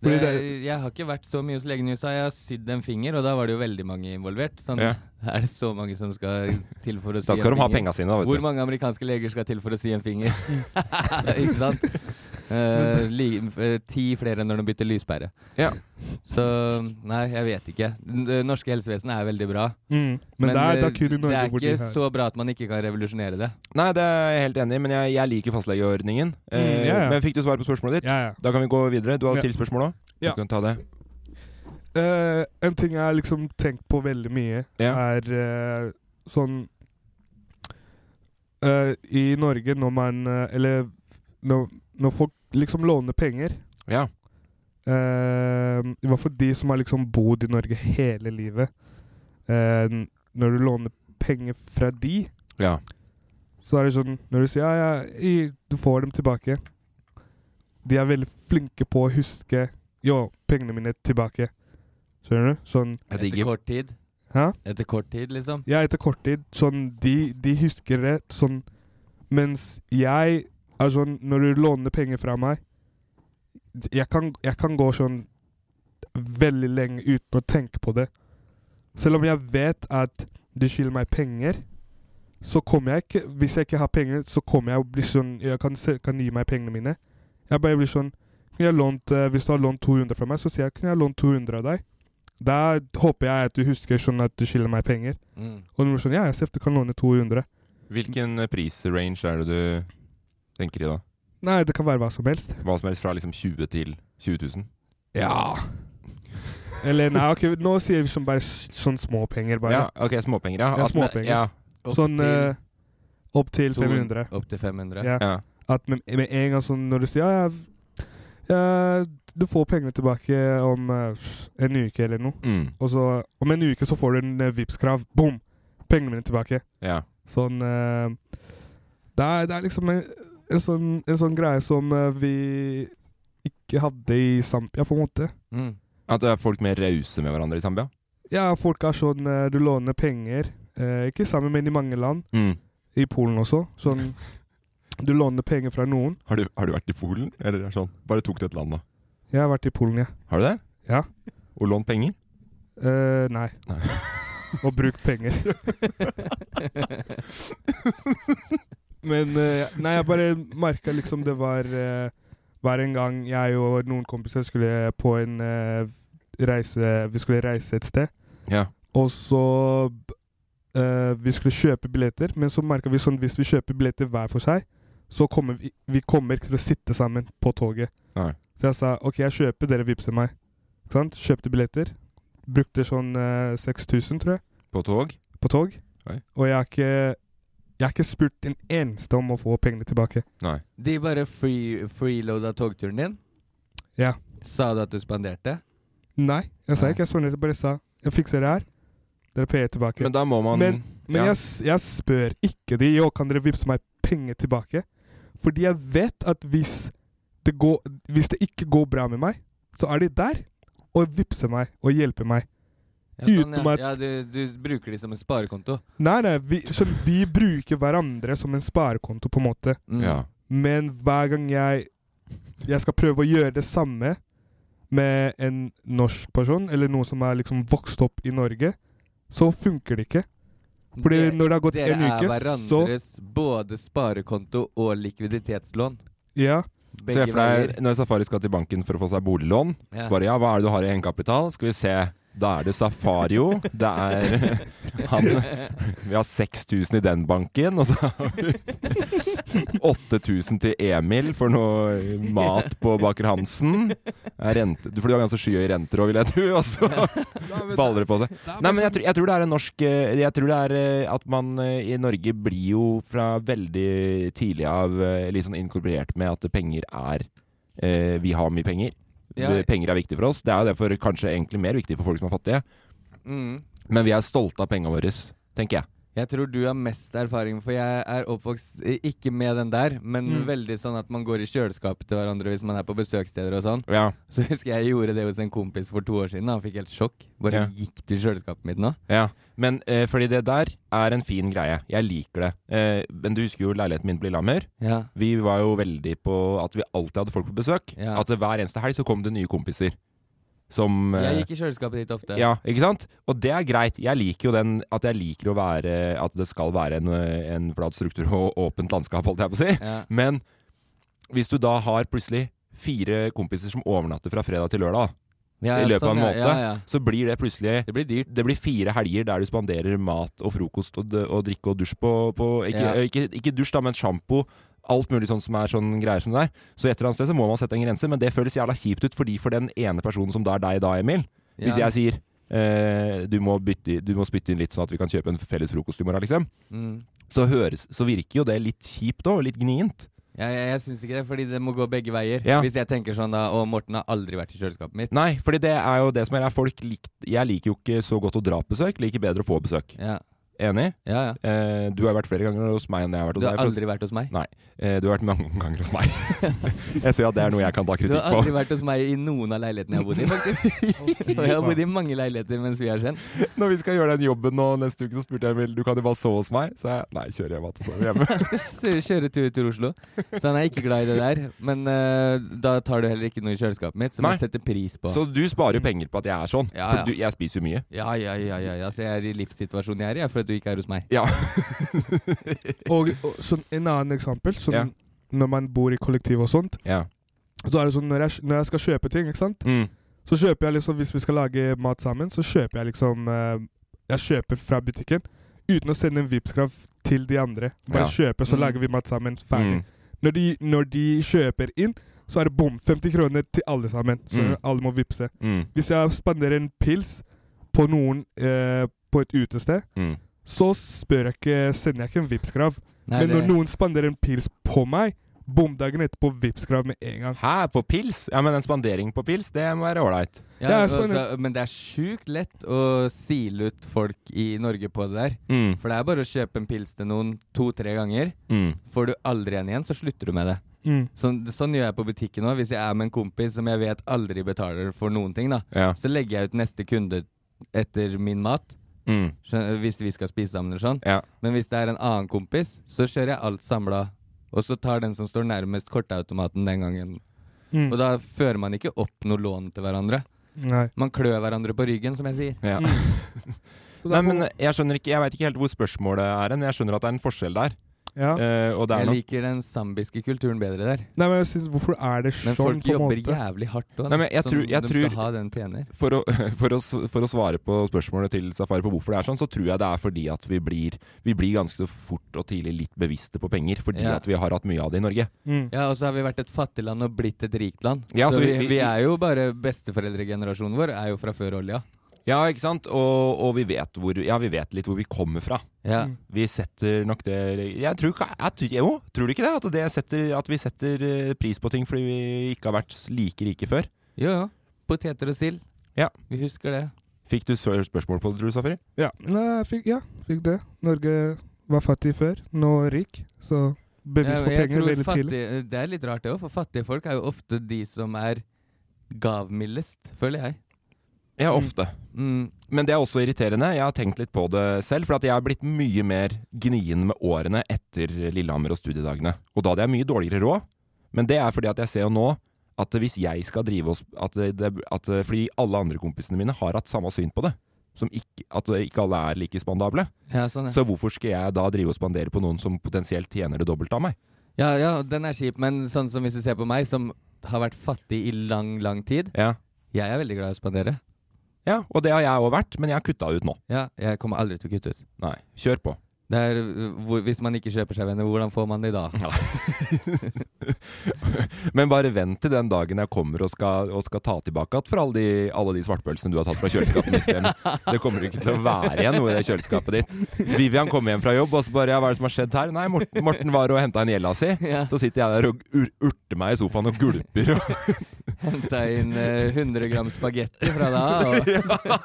S4: Det,
S3: Fordi det-
S4: jeg har ikke vært så mye hos legen i USA. Jeg har sydd en finger, og da var det jo veldig mange involvert. Sånn,
S2: Ja.
S4: Er det så mange som skal til for å sy
S2: Da skal
S4: en
S2: de ha
S4: finger?
S2: penga sine, da,
S4: Hvor
S2: vet du.
S4: mange amerikanske leger skal til for å sy en finger? ikke sant? Eh, li, eh, ti flere når de bytter lyspære.
S2: Ja.
S4: Så nei, jeg vet ikke. N- Det norske helsevesenet er veldig bra.
S3: Mm. Men, det er, det
S4: eh,
S3: er kun i
S4: det
S3: Norge
S4: er
S3: hvor de
S4: ikke
S3: har
S4: så bra at man ikke kan revolusjonere det.
S2: Nei, det er jeg helt enig i, men jeg, jeg liker fastlegeordningen. Eh,
S3: Mm, ja, ja.
S2: Men fikk du svar på spørsmålet ditt?
S3: Ja, ja.
S2: Da kan vi gå videre. Du har
S3: Ja.
S2: et til spørsmål òg?
S3: Ja.
S2: Du kan ta det.
S3: Eh, en ting jeg har liksom tenkt på veldig mye,
S2: Ja.
S3: er eh, sånn eh, I Norge, når man eh, Eller når, når folk liksom låner penger
S2: Ja.
S3: eh, I hvert fall de som har liksom bodd i Norge hele livet. eh, når du låner penger fra de,
S2: ja.
S3: så er det sånn Når du sier ja, ja, i, du får dem tilbake De er veldig flinke på å huske Jo, pengene mine tilbake. Skjønner du? Sånn
S2: Jeg
S4: Etter
S2: digger
S4: kort tid.
S3: Hæ?
S4: Etter kort tid, liksom.
S3: Ja, etter kort tid. Sånn De, de husker det sånn Mens jeg er sånn Når du låner penger fra meg Jeg kan, jeg kan gå sånn veldig lenge uten å tenke på det. Selv om jeg vet at de skylder meg penger, så kommer jeg ikke Hvis jeg ikke har penger, så kommer jeg å bli sånn Jeg kan, se- kan gi meg pengene mine. Jeg bare blir sånn kunne jeg lånt, eh, Hvis du har lånt 200 fra meg, så sier jeg kunne jeg lånt 200 av deg. Da håper jeg at du husker sånn at du skylder meg penger.
S4: Mm.
S3: Og de var sånn, ja, jeg ser at du kan låne 200.
S2: Hvilken eh, prisrange er det du tenker i da?
S3: Nei, det kan være hva som helst.
S2: Hva som helst fra liksom 20 til 20 000?
S3: Ja. Eller nei, ok, nå sier vi sånn bare s- sånn småpenger bare.
S2: Ja, ok, småpenger, ja.
S3: Ja,
S2: At med-
S3: småpenger.
S2: Ja,
S4: Opp
S3: sånn
S4: til
S3: eh, opp til
S4: to-
S3: 500.
S4: Opp til 500.
S3: Ja.
S2: ja.
S3: At med, med en gang sånn når du sier, ja, ja, ja du får pengene tilbake om eh, en uke eller noe.
S2: Mm,
S3: Og så, om en uke så får du en uh, VIPs-krav. Boom! Pengene mine tilbake.
S2: ja.
S3: Sånn eh, det, er, det er liksom en, en, sånn, en sånn greie som eh, vi ikke hadde i Zambia, på en måte.
S2: At eh, folk mer rause med hverandre i Zambia?
S3: Ja, folk er sånn eh, Du låner penger. Eh, ikke sammen, men i mange land.
S2: Mm.
S3: I Polen også. Sånn Du låner penger fra noen.
S2: Har du, har du vært i Polen? Eller er det sånn? Bare tok du et land, da?
S3: Jeg har vært i Polen, ja.
S2: Har du det?
S3: Ja.
S2: Og lånt penger?
S3: Eh, nei.
S2: Nei.
S3: Og brukt penger. Men eh, Nei, jeg bare merka liksom det var eh, Hver en gang jeg og noen kompiser skulle på en eh, reise Vi skulle reise et sted,
S2: Ja.
S3: og så eh, Vi skulle kjøpe billetter, men så merka vi sånn hvis vi kjøper billetter hver for seg, så kommer vi, vi kommer ikke til å sitte sammen på toget.
S2: Nei.
S3: Så jeg sa OK, jeg kjøper, dere vippser meg. Ikke sant? Kjøpte billetter. Brukte sånn eh, 6000, tror jeg
S2: På tog?
S3: på tog.
S2: Oi.
S3: Og jeg har ikke Jeg har ikke spurt en eneste om å få pengene tilbake.
S2: Nei.
S4: De bare free, freeloada togturen din?
S3: Ja.
S4: Sa du at du spanderte?
S3: Nei, jeg sa
S4: Nei.
S3: ikke jeg spanderte, jeg bare sa jeg fikser det her. Dere payer tilbake.
S2: Men da må man
S3: Men, men
S2: ja.
S3: jeg, s- jeg spør ikke de jo, kan dere vippse meg penger tilbake. Fordi jeg vet at hvis det, går, hvis det ikke går bra med meg, så er de der og vippser meg og hjelper meg.
S4: Ja, sånn,
S3: Utenom
S4: ja.
S3: at
S4: ja du, du bruker de som en sparekonto?
S3: Nei, nei, vi, så vi bruker hverandre som en sparekonto, på en måte.
S4: Mm.
S2: Ja.
S3: Men hver gang jeg Jeg skal prøve å gjøre det samme med en norsk person, eller noen som er liksom vokst opp i Norge, så funker det ikke. Fordi
S4: Dere-
S3: når det har gått
S4: dere
S3: en
S4: er
S3: uke, så
S4: hverandres både sparekonto og likviditetslån.
S3: Ja.
S2: Se
S4: Begge
S2: for
S4: veier.
S2: deg når Safari skal til banken for å få seg boliglån.
S4: Ja.
S2: Så bare ja, hva er det du har i egenkapital? Skal vi se. Da er det Safario. Det er han Vi har 6000 i den banken, og så har vi 8000 til Emil for noe mat på Baker Hansen. Det er Rente, for du har ganske skyhøye renter òg, vil jeg tro. Og så baller det på seg. Nei, men jeg, tror- jeg tror det er en norsk eh, Jeg tror det er eh, at man eh, i Norge blir jo fra veldig tidlig av eh, litt sånn inkorporert med at penger er eh, Vi har mye penger.
S4: Ja.
S2: Det- Penger er viktig for oss. Det er jo derfor kanskje egentlig mer viktig for folk som er fattige.
S4: Mm.
S2: Men vi er stolte av pengene våre, tenker jeg.
S4: Jeg tror du har mest erfaring, for jeg er oppvokst eh, ikke med den der, men
S3: Mm.
S4: veldig sånn at man går i kjøleskapet til hverandre hvis man er på besøkssteder og sånn.
S2: Ja.
S4: Så husker jeg gjorde det hos en kompis for to år siden. da. Han fikk helt sjokk. Bare
S2: Ja.
S4: gikk til kjøleskapet mitt nå.
S2: Ja, men eh, fordi det der er en fin greie. Jeg liker det. Eh, men du husker jo leiligheten min på Lillehammer.
S4: Ja.
S2: Vi var jo veldig på at vi alltid hadde folk på besøk.
S4: Ja.
S2: At hver eneste helg så kom det nye kompiser. Som eh,
S4: Jeg gikk i kjøleskapet ditt ofte.
S2: Ja, ikke sant? Og det er greit. Jeg liker jo den at jeg liker å være At det skal være en, eh, en flat struktur og åpent landskap, holdt jeg på å si.
S4: Ja.
S2: Men hvis du da har plutselig fire kompiser som overnatter fra fredag til lørdag,
S4: Ja,
S2: i løpet av en
S4: sånn, ja,
S2: måned,
S4: ja, ja.
S2: så blir det plutselig
S4: Det blir dyrt.
S2: Det blir fire helger der du spanderer mat og frokost og, d- og drikke og dusj på, på ikke,
S4: Ja.
S2: eh, ikke, ikke dusj, da, men sjampo. Alt mulig sånn som er sånn greier som det er. Så et eller annet sted så må man sette en grense, men det føles jævla kjipt ut fordi for den ene personen som da er deg da, Emil. Hvis
S4: Ja.
S2: jeg sier eh, du, må bytte, du må spytte inn litt sånn at vi kan kjøpe en felles frokost i morgen, liksom.
S4: Mm.
S2: Så, høres, så virker jo det litt kjipt òg, litt gnient.
S4: Ja, jeg, jeg syns ikke det, fordi det må gå begge veier.
S2: Ja.
S4: Hvis jeg tenker sånn da, og Morten har aldri vært i kjøleskapet mitt.
S2: Nei, fordi det er jo det som er er folk lik, Jeg liker jo ikke så godt å dra på besøk, liker bedre å få besøk.
S4: Ja,
S2: Enig?
S4: ja. ja.
S2: Eh, du har vært flere ganger hos meg enn jeg har vært
S4: Du
S2: hos
S4: har
S2: deg. for-
S4: aldri vært hos meg.
S2: Eh, du har vært mange ganger hos meg. jeg ser at det er noe jeg kan ta
S4: Du
S2: kritikk
S4: har
S2: for.
S4: aldri vært hos meg i noen av leilighetene jeg har bodd i, faktisk. Og jeg har bodd i mange leiligheter mens vi har kjent.
S2: Når vi skal gjøre den jobben nå neste uke, så spurte jeg Emil du kan jo bare sove hos meg. Så jeg nei, kjører hjem igjen og sover hjemme.
S4: Så Kjøre tur til Oslo. Så han er ikke glad i det der. Men eh, da tar du heller ikke noe i kjøleskapet mitt, som
S2: Nei.
S4: jeg setter pris på.
S2: så du sparer jo penger på at jeg er sånn.
S4: Ja, ja.
S2: For du, jeg spiser jo mye.
S4: Ja, ja, ja, ja, ja. Så jeg er i livssituasjonen jeg er i, jeg, for at du ikke er hos meg.
S2: Ja.
S3: Og, og sånn en annen eksempel, sånn
S2: Ja.
S3: når man bor i kollektiv og sånt,
S2: ja.
S3: så er det sånn når jeg, når jeg skal kjøpe ting, ikke sant,
S2: Mm.
S3: så kjøper jeg liksom Hvis vi skal lage mat sammen, så kjøper jeg liksom eh, Jeg kjøper fra butikken uten å sende en Vipps-krav til de andre. Bare kjøpe, så
S4: Mm.
S3: lager vi mat sammen. Ferdig.
S2: Mm.
S3: Når de, når de kjøper inn, så er det bom! 50 kroner til alle sammen. Så
S2: Mm.
S3: alle må vippse.
S2: Mm.
S3: Hvis jeg spanderer en pils på noen eh, på et utested,
S2: Mm.
S3: så spør jeg ikke, sender jeg ikke en Vipps-krav.
S4: Nei,
S3: Men
S4: det-
S3: når noen spanderer en pils på meg, bom dagen etterpå Vipps-krav med en gang.
S2: mm. Hæ, på pils? Ja, men en spandering på pils, det må være ålreit.
S4: ja,
S3: Ja, jeg
S4: og
S3: spør-
S4: så- men det er sjukt lett å sile ut folk i Norge på det der.
S2: Mm.
S4: For det er bare å kjøpe en pils til noen to-tre ganger.
S2: Mm.
S4: Får du aldri en igjen, så slutter du med det.
S3: Mm.
S4: Sånn, sånn gjør jeg på butikken nå. Hvis jeg er med en kompis som jeg vet aldri betaler for noen ting, da,
S2: Ja.
S4: så legger jeg ut neste kunde etter min mat.
S2: Mm.
S4: Skjø- Hvis vi skal spise sammen eller sånn.
S2: Ja.
S4: Men hvis det er en annen kompis, så kjører jeg alt samla. Og så tar den som står nærmest kortautomaten den gangen.
S3: Mm.
S4: Og da fører man ikke opp noe lån til hverandre.
S3: Nei.
S4: Man klør hverandre på ryggen, som jeg sier.
S2: Ja. Nei, men jeg skjønner ikke Jeg veit ikke helt hvor spørsmålet er hen. Jeg skjønner at det er en forskjell der.
S3: Ja.
S2: Eh, og det er
S4: Jeg
S2: nok
S4: liker den zambiske kulturen bedre der.
S3: Nei, men jeg synes, Hvorfor er det sånn?
S4: Men folk
S3: på en
S4: jobber
S3: måte?
S4: jævlig hardt òg.
S2: Nei, men jeg tror- jeg
S4: de
S2: tror-
S4: skal ha den tjener.
S2: for å, for, å, s- for å svare på spørsmålet til Safari på hvorfor det er sånn, så tror jeg det er fordi at vi blir, vi blir ganske så fort og tidlig litt bevisste på penger, fordi
S4: Ja.
S2: at vi har hatt mye av det i Norge.
S3: Mm.
S4: Ja, og så har vi vært et fattig land og blitt et rikt land.
S2: Ja, så
S4: så vi,
S2: vi-
S4: vi,
S2: vi-
S4: er jo bare besteforeldregenerasjonen vår er jo fra før olja.
S2: Ja, ikke sant? Og, og vi, vet hvor, ja, vi vet litt hvor vi kommer fra.
S4: Ja.
S2: Vi setter nok det Jeg tror ikke jeg, tror- Jo, tror du ikke det? At, det setter, at vi setter eh, pris på ting fordi vi ikke har vært like rike før?
S4: Jo, jo. Poteter og sild.
S2: Ja.
S4: Vi husker det.
S2: Fikk du sør- spørsmål på det, tror du, Safari?
S3: Ja, Nei, jeg fikk, ja, fikk det. Norge var fattig før, nå rik. Så bevis
S4: Ja,
S3: på
S4: men jeg
S3: penger
S4: tror
S3: veldig tidlig.
S4: fattige- Det er litt rart det òg, for fattige folk er jo ofte de som er gavmildest, føler jeg.
S2: Ja, ofte.
S4: Mm.
S2: Men det er også irriterende. Jeg har tenkt litt på det selv, for at jeg har blitt mye mer gnien med årene etter Lillehammer og studiedagene. Og da hadde jeg mye dårligere råd, men det er fordi at jeg ser jo nå at hvis jeg skal drive oss at det, det- at, Fordi alle andre kompisene mine har hatt samme syn på det. Som ikke, at ikke alle er like spandable.
S4: Ja, sånn, ja.
S2: Så hvorfor skal jeg da drive og spandere på noen som potensielt tjener det dobbelte av meg?
S4: Ja, ja, den er kjip, men sånn som hvis du ser på meg, som har vært fattig i lang, lang tid
S2: Ja,
S4: Jeg er veldig glad i å spandere.
S2: ja og det har jeg òg vært, men jeg har kutta ut nå.
S4: Ja, jeg kommer aldri til å kutte ut.
S2: Nei, kjør på.
S4: Det er, øh, hvor, hvis man ikke kjøper seg venner, hvordan får man de da?
S2: Men bare vent til den dagen jeg kommer og skal, og skal ta tilbake igjen for alle de, alle de svartpølsene du har tatt fra kjøleskapet mitt hjem. Det kommer ikke til å være igjen noe i det kjøleskapet ditt. Vivian kommer hjem fra jobb og så bare ja, 'Hva er det som har skjedd her?' Nei, Morten, Morten var og henta inn gjelda si.
S4: Ja.
S2: Så sitter jeg der og ur urter meg i sofaen og gulper. Og
S4: Henta inn øh, 100 gram spagetti fra da, og
S2: ja.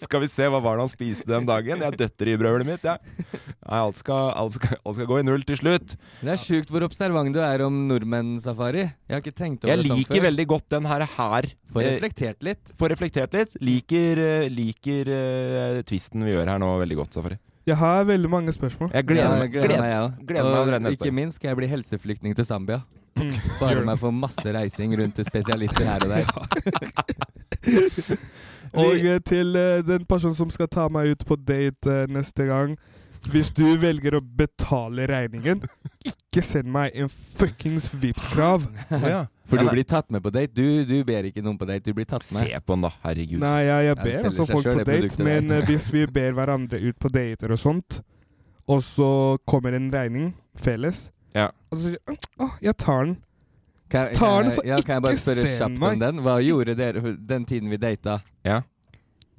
S2: Skal vi se, hva var det han spiste den dagen? Jeg døtter i brølet mitt, jeg. Nei, alt skal, alt, skal, alt skal gå i null til slutt.
S4: Det er sjukt hvor observant du er om nordmenn-safari. Jeg har ikke tenkt over
S2: Jeg
S4: det sånn
S2: liker
S4: før.
S2: veldig godt den her. her
S4: Får
S2: eh,
S4: reflektert litt.
S2: Får reflektert litt. Liker, eh, liker eh, tvisten vi gjør her nå veldig godt, Safari.
S3: Jeg har veldig mange spørsmål.
S2: Jeg
S4: Ja,
S2: gleder,
S4: jeg gleder meg, jeg
S2: gleder,
S4: òg.
S2: gleder meg allerede neste
S4: ikke
S2: år. Mm.
S4: minst skal jeg bli helseflyktning til Zambia. Spare meg for masse reising rundt til spesialister her og der.
S3: Og eh, til eh, den personen som skal ta meg ut på date eh, neste gang. Hvis du velger å betale regningen, ikke send meg en fuckings Vipps-krav.
S2: Ja.
S4: For
S2: Ja,
S4: du
S2: nei,
S4: blir tatt med på date. Du, du ber ikke noen på date, du blir tatt med.
S2: Se på den, da. Herregud.
S3: Nei, jeg, jeg
S4: Ja, det
S3: ber
S4: selger
S3: altså
S4: seg
S3: folk
S4: selv,
S3: på
S4: det
S3: date,
S4: produktet der.
S3: men eh, hvis vi ber hverandre ut på dater og sånt, og så kommer en regning felles
S2: Ja.
S3: Og så sier jeg «Åh, jeg tar den.
S4: Kan, jeg-
S3: Tar
S4: kan
S3: den,
S4: jeg-
S3: så
S4: ja, kan jeg bare
S3: ikke
S4: spørre
S3: send
S4: kjapt om
S3: meg.
S4: den? Hva gjorde dere den tiden vi data?
S2: Ja.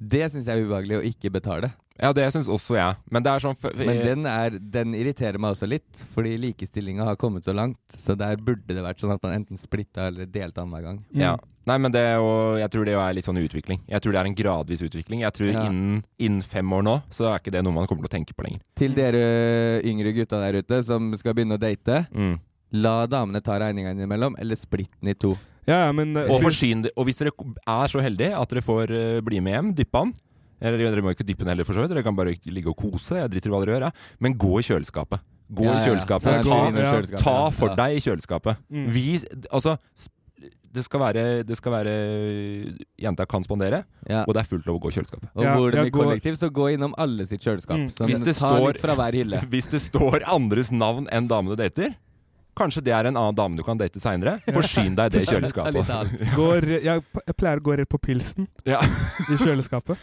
S4: Det syns jeg er ubehagelig å ikke betale.
S2: ja, det syns også jeg. Men det er sånn f-
S4: Men
S2: eh,
S4: den, er, den irriterer meg også litt, fordi likestillinga har kommet så langt. Så der burde det vært sånn at man enten splitta eller delte annenhver gang.
S2: eh,
S3: Mm.
S2: ja. Nei, men det er jo Jeg tror det jo er litt sånn utvikling. Jeg tror det er en gradvis utvikling. Jeg tror
S4: Ja.
S2: innen, innen fem år nå, så er ikke det noe man kommer til å tenke på lenger.
S4: Til dere eh, yngre gutta der ute som skal begynne å date,
S2: Mm.
S4: la damene ta regninga innimellom, eller splitt den i to.
S3: Ja, ja, men eh,
S2: Og,
S3: hvis-
S2: forsyn, og hvis dere er så heldige at dere får eh, bli med hjem, dyppe han. Eller dere må ikke dyppe den heller, for så vidt. Dere kan bare ligge og kose. Jeg driter i hva dere gjør. Jeg. Men gå i kjøleskapet. Gå
S4: Ja,
S2: i
S4: ja, ja.
S2: kjøleskapet.
S4: Ta en tur innom
S3: ja.
S4: kjøleskapet,
S2: Ta
S4: ja.
S2: for
S4: Ja.
S2: deg i kjøleskapet.
S3: Mm.
S2: Vis Altså, sp- det skal være, det skal være Jenta kan spandere,
S4: Ja.
S2: og det er fullt lov å gå i kjøleskapet.
S4: Og
S3: Ja,
S4: bor de
S3: jeg
S4: i
S3: går-
S4: kollektiv, så gå innom alle sitt kjøleskap.
S3: Mm.
S4: Så
S2: Hvis det
S4: ta
S2: står-
S4: litt fra hver hylle.
S2: Hvis det står andres navn enn damen du dater, kanskje det er en annen dame du kan date seinere. Forsyn deg det
S4: Ta litt
S2: kjøleskapet.
S4: av alt.
S3: går, eh, jeg, p- jeg pleier å gå rett på pilsen
S2: Ja.
S3: i kjøleskapet.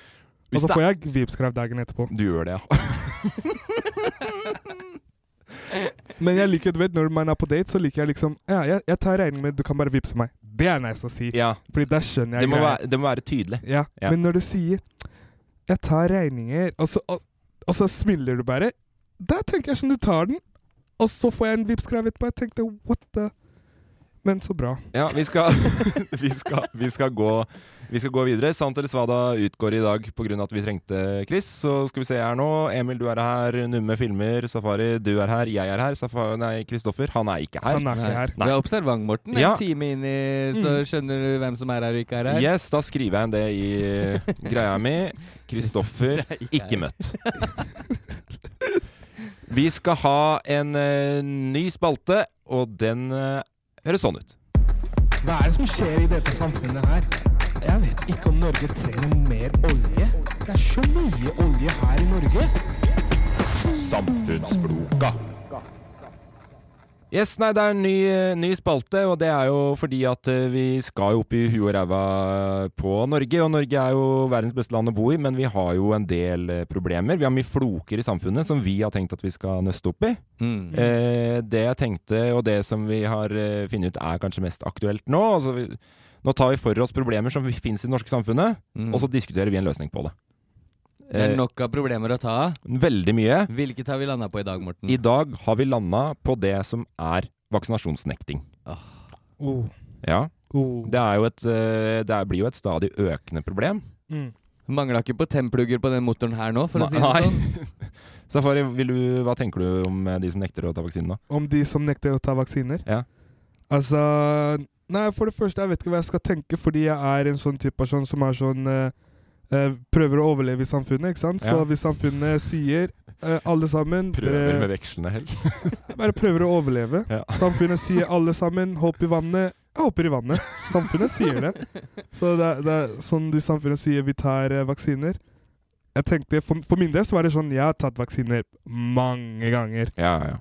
S2: Hvis
S3: Og så
S2: det-
S3: får jeg Vipps-krav dagen etterpå.
S2: Du gjør det, ja.
S3: Men jeg liker, du vet, når man er på date, så liker jeg liksom Ja, jeg, jeg tar regningen, men du kan bare vippse meg. Det er nice å si.
S2: ja.
S3: Fordi da skjønner
S2: Det,
S3: jeg
S2: må
S3: greia.
S2: være, det må være tydelig.
S3: Ja.
S2: Ja.
S3: Men når du sier 'jeg tar regninger', altså, og så, og, og så smiler du bare Da tenker jeg sånn, du tar den, og så får jeg en Vipps-krav etterpå. Jeg tenkte what the Men så bra.
S2: Ja, vi skal, vi skal, vi skal gå Vi skal gå videre. Sant eller svada utgår i dag pga. at vi trengte Chris. Så skal vi se her nå. Emil, du er her. Numme filmer. Safari, du er her. Jeg er her. Safa- nei, Kristoffer, han er ikke her.
S3: Han er ikke her.
S2: Nei.
S4: Du er observant, Morten. En
S2: Ja. Mm.
S4: time inn i, så skjønner du hvem som er her og ikke er her.
S2: Yes, da skriver jeg inn det i greia mi. Kristoffer ikke møtt. Vi skal ha en eh, ny spalte, og den eh, høres sånn ut.
S6: Hva er det som skjer i dette samfunnet her? Jeg vet ikke om Norge trenger mer olje. Det er så mye olje her i Norge.
S2: Samfunnsfloka. Yes, nei, det er en ny, ny spalte, og det er jo fordi at eh, vi skal jo opp i huet og ræva på Norge. Og Norge er jo verdens beste land å bo i, men vi har jo en del eh, problemer. Vi har mye floker i samfunnet som vi har tenkt at vi skal nøste opp i.
S4: Mm.
S2: Eh, det jeg tenkte, og det som vi har eh, funnet ut er kanskje mest aktuelt nå altså vi, Nå tar vi for oss problemer som finnes i det norske samfunnet,
S4: Mm.
S2: og så diskuterer vi en løsning på det.
S4: Det er
S2: Eh,
S4: nok Mm. av problemer å ta av.
S2: Veldig mye.
S4: Hvilket har vi landa på i dag, Morten?
S2: I dag har vi landa på det som er vaksinasjonsnekting.
S3: Oh.
S2: Ja.
S3: Oh.
S2: Det, er jo et, eh, det er- blir jo et stadig økende problem.
S3: Mm.
S4: Mangla ikke på templugger på den motoren her nå, for å si det
S2: Nei.
S4: sånn.
S2: Safari, vil du, hva tenker du om eh, de som nekter å ta vaksinen nå?
S3: Om de som nekter å ta vaksiner?
S2: Ja.
S3: Altså Nei, for det første, jeg vet ikke hva jeg skal tenke, fordi jeg er en sånn type person som er sånn eh, eh, Prøver å overleve i samfunnet, ikke sant? Så
S2: Ja.
S3: hvis samfunnet sier eh, alle sammen
S2: Prøver med vekslende hell.
S3: Jeg bare prøver å overleve. Samfunnet sier alle sammen 'hopp i vannet'. Jeg hopper i vannet. Samfunnet sier det. Så det er, det er sånn de samfunnet sier vi tar eh, vaksiner. Jeg tenkte, for, for min del så var det sånn Jeg har tatt vaksiner mange ganger.
S2: Ja, ja, ja.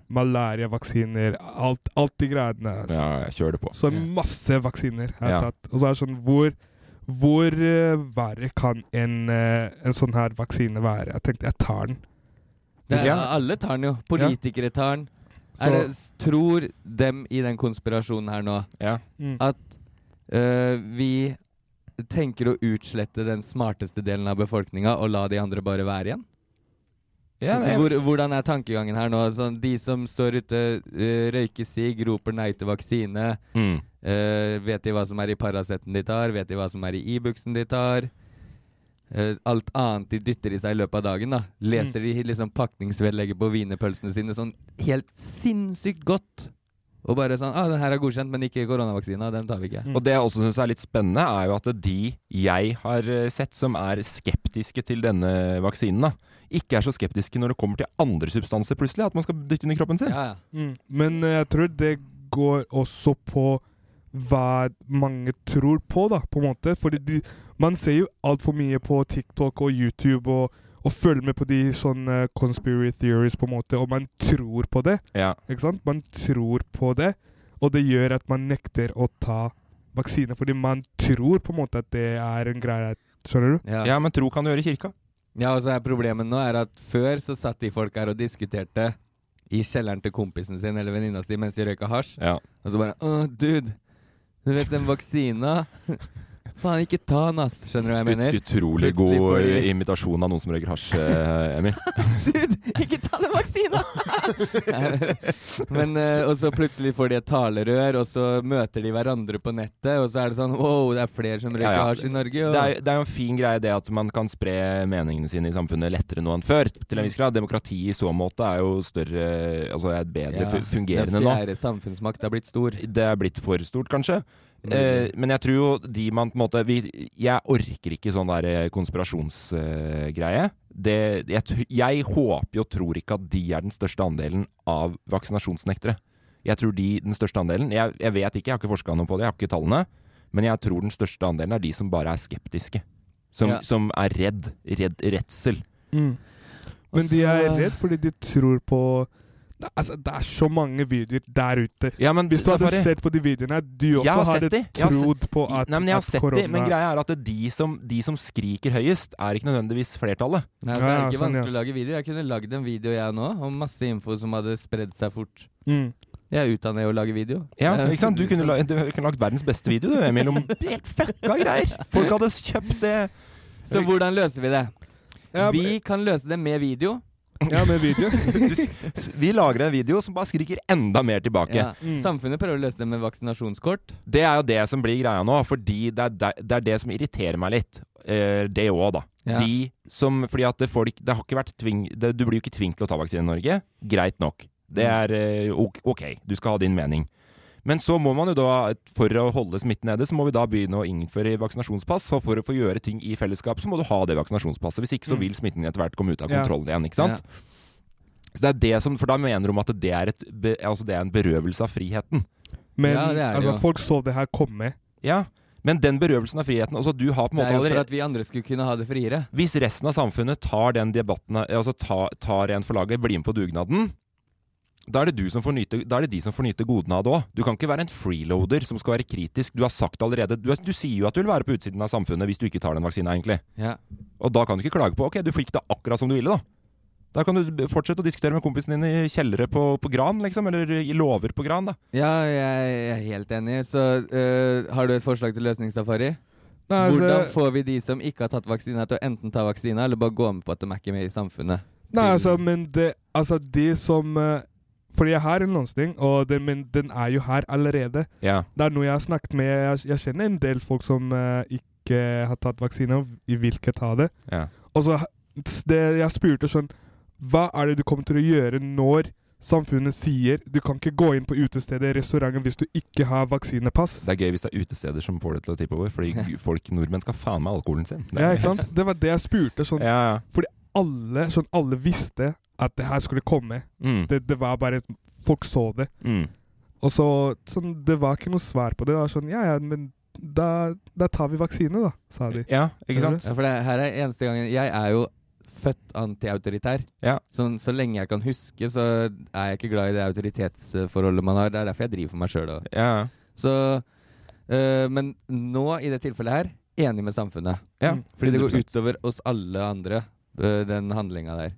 S3: Malariavaksiner, alt, alt de greiene her.
S2: Ja, jeg kjører det på.
S3: Så masse vaksiner jeg har
S2: Ja.
S3: tatt. Og så er det sånn Hvor, hvor eh, verre kan en, eh, en sånn her vaksine være? Jeg tenkte jeg tar den.
S4: Det er, Alle tar den jo. Politikere tar den.
S3: Så-
S4: Er det, tror dem i den konspirasjonen her nå
S3: Mm.
S4: at øh, vi tenker å utslette den smarteste delen av befolkninga og la de andre bare være igjen?
S2: Ja, det er-
S4: Hvor, hvordan er tankegangen her nå? Sånn, de som står ute, øh, røyker sigg, roper nei til vaksine.
S2: Mm.
S4: øh, vet de hva som er i Paraceten de tar? Vet de hva som er i Ibuxen de tar? Eh, alt annet de dytter i seg i løpet av dagen. da Leser de liksom pakningsvedlegget på wienerpølsene sine sånn helt sinnssykt godt. Og bare sånn ah, 'Den her er godkjent, men ikke koronavaksina. Den tar vi ikke'.
S2: Og det jeg også syns er litt spennende, er jo at de jeg har eh, sett som er skeptiske til denne vaksinen, da, ikke er så skeptiske når det kommer til andre substanser plutselig. At man skal dytte inn i kroppen sin.
S3: Mm. Men eh, jeg tror det går også på hva mange tror på, da, på en måte. Fordi de, man ser jo altfor mye på TikTok og YouTube og, og følger med på de sånne conspiracy theories, på en måte, og man tror på det.
S2: Ja.
S3: Ikke sant? Man tror på det, og det gjør at man nekter å ta vaksine, fordi man tror på en måte at det er en greie. Skjønner du?
S4: Ja.
S2: men tro kan du gjøre i kirka.
S4: Ja, og så er problemet nå er at før så satt de folk her og diskuterte i kjelleren til kompisen sin eller venninna si mens de røyka hasj. Og så bare Å, dude, du vet den vaksina Faen, ikke ta den, ass. Skjønner du hva jeg mener?
S2: Ut, utrolig
S4: Plutselig
S2: god
S4: får de-
S2: eh, imitasjon av noen som røyker hasj, eh, Emil.
S4: Ikke ta den vaksina! Men, eh, og så plutselig får de et talerør, og så møter de hverandre på nettet, og så er det sånn Wow, det er flere som røyker
S2: Ja, ja.
S4: hasj i Norge. Og...
S2: Det er, det er jo en fin greie det at man kan spre meningene sine i samfunnet lettere nå enn før. Til en viss grad. Demokrati i så måte er jo større Altså er bedre
S4: Ja,
S2: fu- fungerende
S4: Den
S2: nå. Eh,
S4: fjerde samfunnsmakt er blitt stor.
S2: Det er blitt for stort, kanskje. Eh, men jeg tror jo de man på en måte vi, Jeg orker ikke sånn der konspirasjonsgreie. jeg, t- jeg håper jo og tror ikke at de er den største andelen av vaksinasjonsnektere. Jeg tror de den største andelen Jeg, jeg vet ikke, jeg har ikke forska noe på det, jeg har ikke tallene. Men jeg tror den største andelen er de som bare er skeptiske. Som,
S3: Ja.
S2: som er redd. Redd redsel.
S3: Mm. Men
S2: Og
S3: de er
S2: så-
S3: redd fordi de tror på Nei, Altså, det er så mange videoer der ute. Hvis du hadde
S2: Safari-
S3: sett på de videoene, du
S2: Jeg har
S3: også
S2: sett
S3: hadde
S2: de. Jeg har se-
S3: trodd på at,
S2: Nei, men jeg har
S3: at
S2: sett
S3: korona
S2: de, men greia er at de som, de som skriker høyest, er ikke nødvendigvis flertallet.
S4: Nei, altså, det er ikke vanskelig å lage video. Jeg kunne lagd en video jeg nå, om masse info som hadde spredd seg fort.
S3: Mm.
S4: Jeg er utdannet i å lage video.
S2: Ja,
S4: Det er-
S2: ikke sant? Du kunne, la, du kunne lagd verdens beste video, du, Emil, om helt fucka greier. Folk hadde kjøpt det.
S4: Så hvordan løser vi det?
S3: Ja,
S4: vi kan løse det med video.
S3: Ja, med video.
S2: Vi lager en video som bare skriker enda mer tilbake.
S4: Ja.
S3: Mm.
S4: Samfunnet prøver å løse det med vaksinasjonskort.
S2: Det er jo det som blir greia nå, fordi det er det, det, er det som irriterer meg litt. Eh, det òg, da.
S4: Ja.
S2: De som Fordi at det folk Det har ikke vært tving, det, Du blir jo ikke tvunget til å ta vaksine i Norge. Greit nok. Det
S4: Mm.
S2: er eh, ok, ok, du skal ha din mening. Men så må man jo da, for å holde smitten nede, så må vi da begynne å innføre vaksinasjonspass. Og for å få gjøre ting i fellesskap, så må du ha det vaksinasjonspasset. Hvis ikke så
S3: Mm.
S2: vil smitten etter hvert komme ut av
S3: Ja.
S2: kontroll igjen, ikke sant? Så det er det som, For da mener de at det er, et, be- altså det er en berøvelse av friheten.
S3: Men
S4: Ja, det er det
S3: altså,
S4: jo.
S3: folk så det her komme.
S2: Ja, Men den berøvelsen av friheten altså du har på en
S4: Det
S2: måte
S4: er jo for
S2: allerede,
S4: at vi andre skulle kunne ha det friere.
S2: Hvis resten av samfunnet tar den debatten altså tar, tar en for laget, blir med på dugnaden da er, det du som får nyte, da er det de som får nyte godene av det òg. Du kan ikke være en freeloader som skal være kritisk. Du har sagt allerede Du, du sier jo at du vil være på utsiden av samfunnet hvis du ikke tar den vaksina, egentlig.
S4: Ja.
S2: Og da kan du ikke klage på Ok, du fikk det akkurat som du ville da Da kan du fortsette å diskutere med kompisen din i kjellere på, på gran liksom Eller i lover på gran da
S4: Ja, jeg er helt enig. Så øh, har du et forslag til løsning, Safari?
S3: Nei, altså-
S4: Hvordan får vi de som ikke har tatt vaksina, til å enten ta vaksina eller bare gå med på at de er ikke med i samfunnet?
S3: Nei, altså, men det Altså, de som eh, Fordi jeg har en løsning, og den, men den er jo her allerede.
S2: Ja.
S3: Det er noe jeg har snakket med Jeg, jeg kjenner en del folk som eh, ikke har tatt vaksine, og vi- vil ikke ta det.
S2: Ja.
S3: Og så ha- s- det, Jeg spurte sånn Hva er det du kommer til å gjøre når samfunnet sier du kan ikke gå inn på utestedet, restauranten, hvis du ikke har vaksinepass?
S2: Det er gøy hvis det er utesteder som får det til å tippe over Fordi folk, nordmenn skal faen med alkoholen sin Det er-
S3: Ja, ikke sant? Det var det jeg spurte. Sånn,
S2: Ja, ja.
S3: Fordi alle, sånn, alle visste at det her skulle komme.
S2: Mm.
S3: Det, det var bare et- Folk så det.
S2: Mm.
S3: Og så sånn, Det var ikke noe svar på det. Det var sånn Ja ja, men da, da tar vi vaksine, da, sa de. Skjønner du?
S4: Ja, for det her er eneste gangen Jeg er jo født antiautoritær.
S2: Ja.
S4: Sånn, så lenge jeg kan huske, så er jeg ikke glad i det autoritetsforholdet man har. Det er derfor jeg driver for meg sjøl òg.
S2: Ja.
S4: Så øh, Men nå, i det tilfellet her, enig med samfunnet.
S2: Ja,
S4: Fordi det går
S2: 100%.
S4: utover oss alle andre, øh, den handlinga der.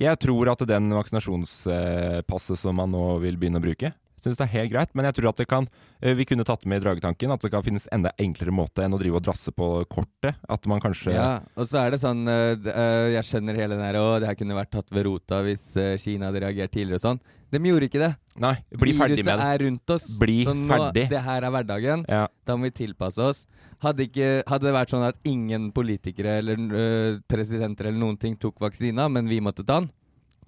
S2: Jeg tror at den vaksinasjonspasset som man nå vil begynne å bruke Synes det er helt greit, men jeg tror at det kan eh, Vi kunne tatt med i dragetanken At det kan finnes enda enklere måte enn å drive og drasse på kortet At man kanskje
S4: Ja, og så er det sånn øh, d- øh, Jeg skjønner hele den her Å, det her kunne vært tatt ved rota hvis øh, Kina hadde reagert tidligere og sånn. De gjorde ikke det.
S2: Nei, bli ferdig med
S4: Viruset er
S2: det
S4: rundt oss.
S2: Bli
S4: så nå,
S2: ferdig.
S4: det her er hverdagen.
S2: Ja.
S4: Da må vi tilpasse oss. Hadde, ikke, hadde det vært sånn at ingen politikere eller øh, presidenter eller noen ting tok vaksina, men vi måtte ta den,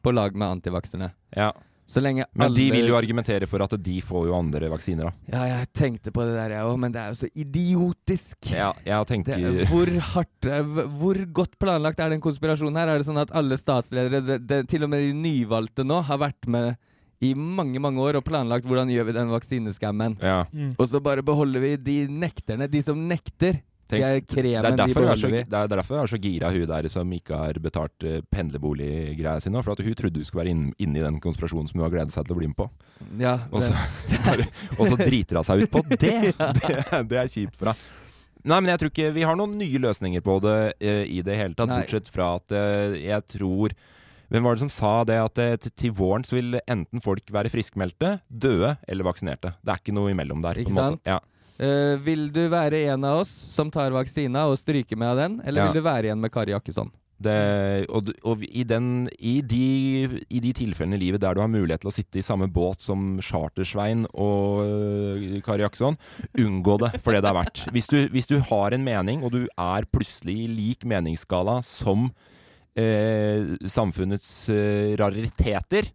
S4: på lag med antivakserne.
S2: Ja.
S4: Så lenge
S2: Men de
S4: alle-
S2: vil jo argumentere for at de får jo andre vaksiner da
S4: Ja, jeg tenkte på det der, jeg òg, men det er jo så idiotisk.
S2: Ja, jeg tenker
S4: Det, hvor hardt eh, Hvor godt planlagt er den konspirasjonen her? Er det sånn at alle statsledere, det, det, til og med de nyvalgte nå, har vært med i mange mange år og planlagt hvordan gjør vi den vaksineskammen?
S2: Ja.
S3: Mm.
S4: Og så bare beholder vi de nekterne. De som nekter.
S2: Tenk,
S4: de er
S2: det, er
S4: kremen, de
S2: derfor hun er så,
S4: beholder
S2: det
S4: vi.
S2: er derfor jeg er så gira hun der som ikke har betalt eh, pendlerboliggreia si nå. For at hun trodde hun skulle være inn, inne i den konspirasjonen som hun har gledet seg til å bli med på.
S4: Ja,
S2: Og
S4: det-
S2: så, bare- og så driter hun seg ut på det! Det, det er kjipt for henne. Nei, men jeg tror ikke Vi har noen nye løsninger på det eh, i det hele tatt,
S4: Nei.
S2: bortsett fra at eh, jeg tror Hvem var det som sa det at eh, til- til våren så vil enten folk være friskmeldte, døde eller vaksinerte. Det er ikke noe imellom der. på en
S4: Ikke
S2: måte.
S4: sant?
S2: Ja.
S4: Eh, vil du være en av oss som tar vaksina og stryker med av den, eller
S2: Ja.
S4: vil du være igjen med Kari Jakkesson?
S2: Det, og d- og i, den, i, de, i de tilfellene i livet der du har mulighet til å sitte i samme båt som Chartersvein og øh, Kari Jakkesson, unngå det for det det er verdt. Hvis du, hvis du har en mening, og du er plutselig i lik meningsskala som eh, samfunnets eh, rariteter,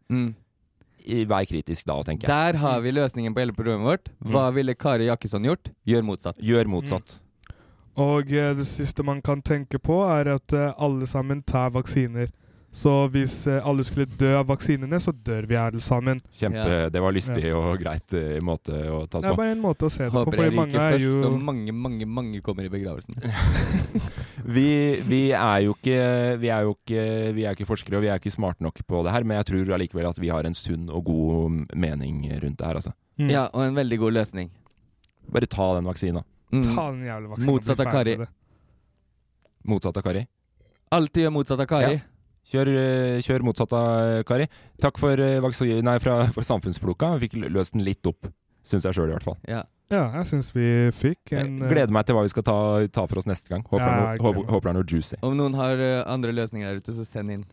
S2: i- vær kritisk da, tenker jeg. Mm.
S4: Der har vi løsningen på hele programmet vårt. Hva ville Kari Jakkesson gjort? Gjør motsatt.
S2: Gjør motsatt.
S3: Og eh, det siste man kan tenke på, er at eh, alle sammen tar vaksiner. Så hvis eh, alle skulle dø av vaksinene, så dør vi alle sammen.
S2: Kjempe, Det var lystig og greit eh, måte å ta
S3: Det
S2: det
S3: er
S2: på.
S3: bare en måte å se det på.
S4: Håper jeg
S3: Fordi mange
S4: ryker
S3: er
S4: først,
S3: jo
S4: så mange, mange, mange kommer i begravelsen.
S2: vi, vi er jo ikke Vi er jo ikke, vi er ikke forskere, og vi er ikke smarte nok på det her, men jeg tror allikevel at vi har en sunn og god mening rundt det her, altså.
S3: Mm.
S4: Ja, og en veldig god løsning.
S2: Bare ta den vaksina.
S4: Mm.
S3: Ta den jævla vaksinen.
S4: Motsatt
S3: bli
S4: av
S3: ferdig
S4: Kari.
S3: med det.
S2: Motsatt av Kari.
S4: Alltid gjør motsatt av Kari.
S2: Ja. Kjør, eh, kjør motsatt av Kari. Takk for, eh, vaks- nei, fra, for samfunnsfloka. Vi fikk løst den litt opp, syns jeg sjøl i hvert fall.
S4: Ja.
S3: Ja, jeg syns vi fikk
S2: Jeg
S3: en eh,
S2: gleder meg til hva vi skal ta, ta for oss neste gang. Håper,
S3: Ja,
S2: det er
S3: jeg
S2: noe,
S3: gleder
S2: håper, håper det er noe juicy.
S4: Om noen har eh, andre løsninger der ute, så send inn.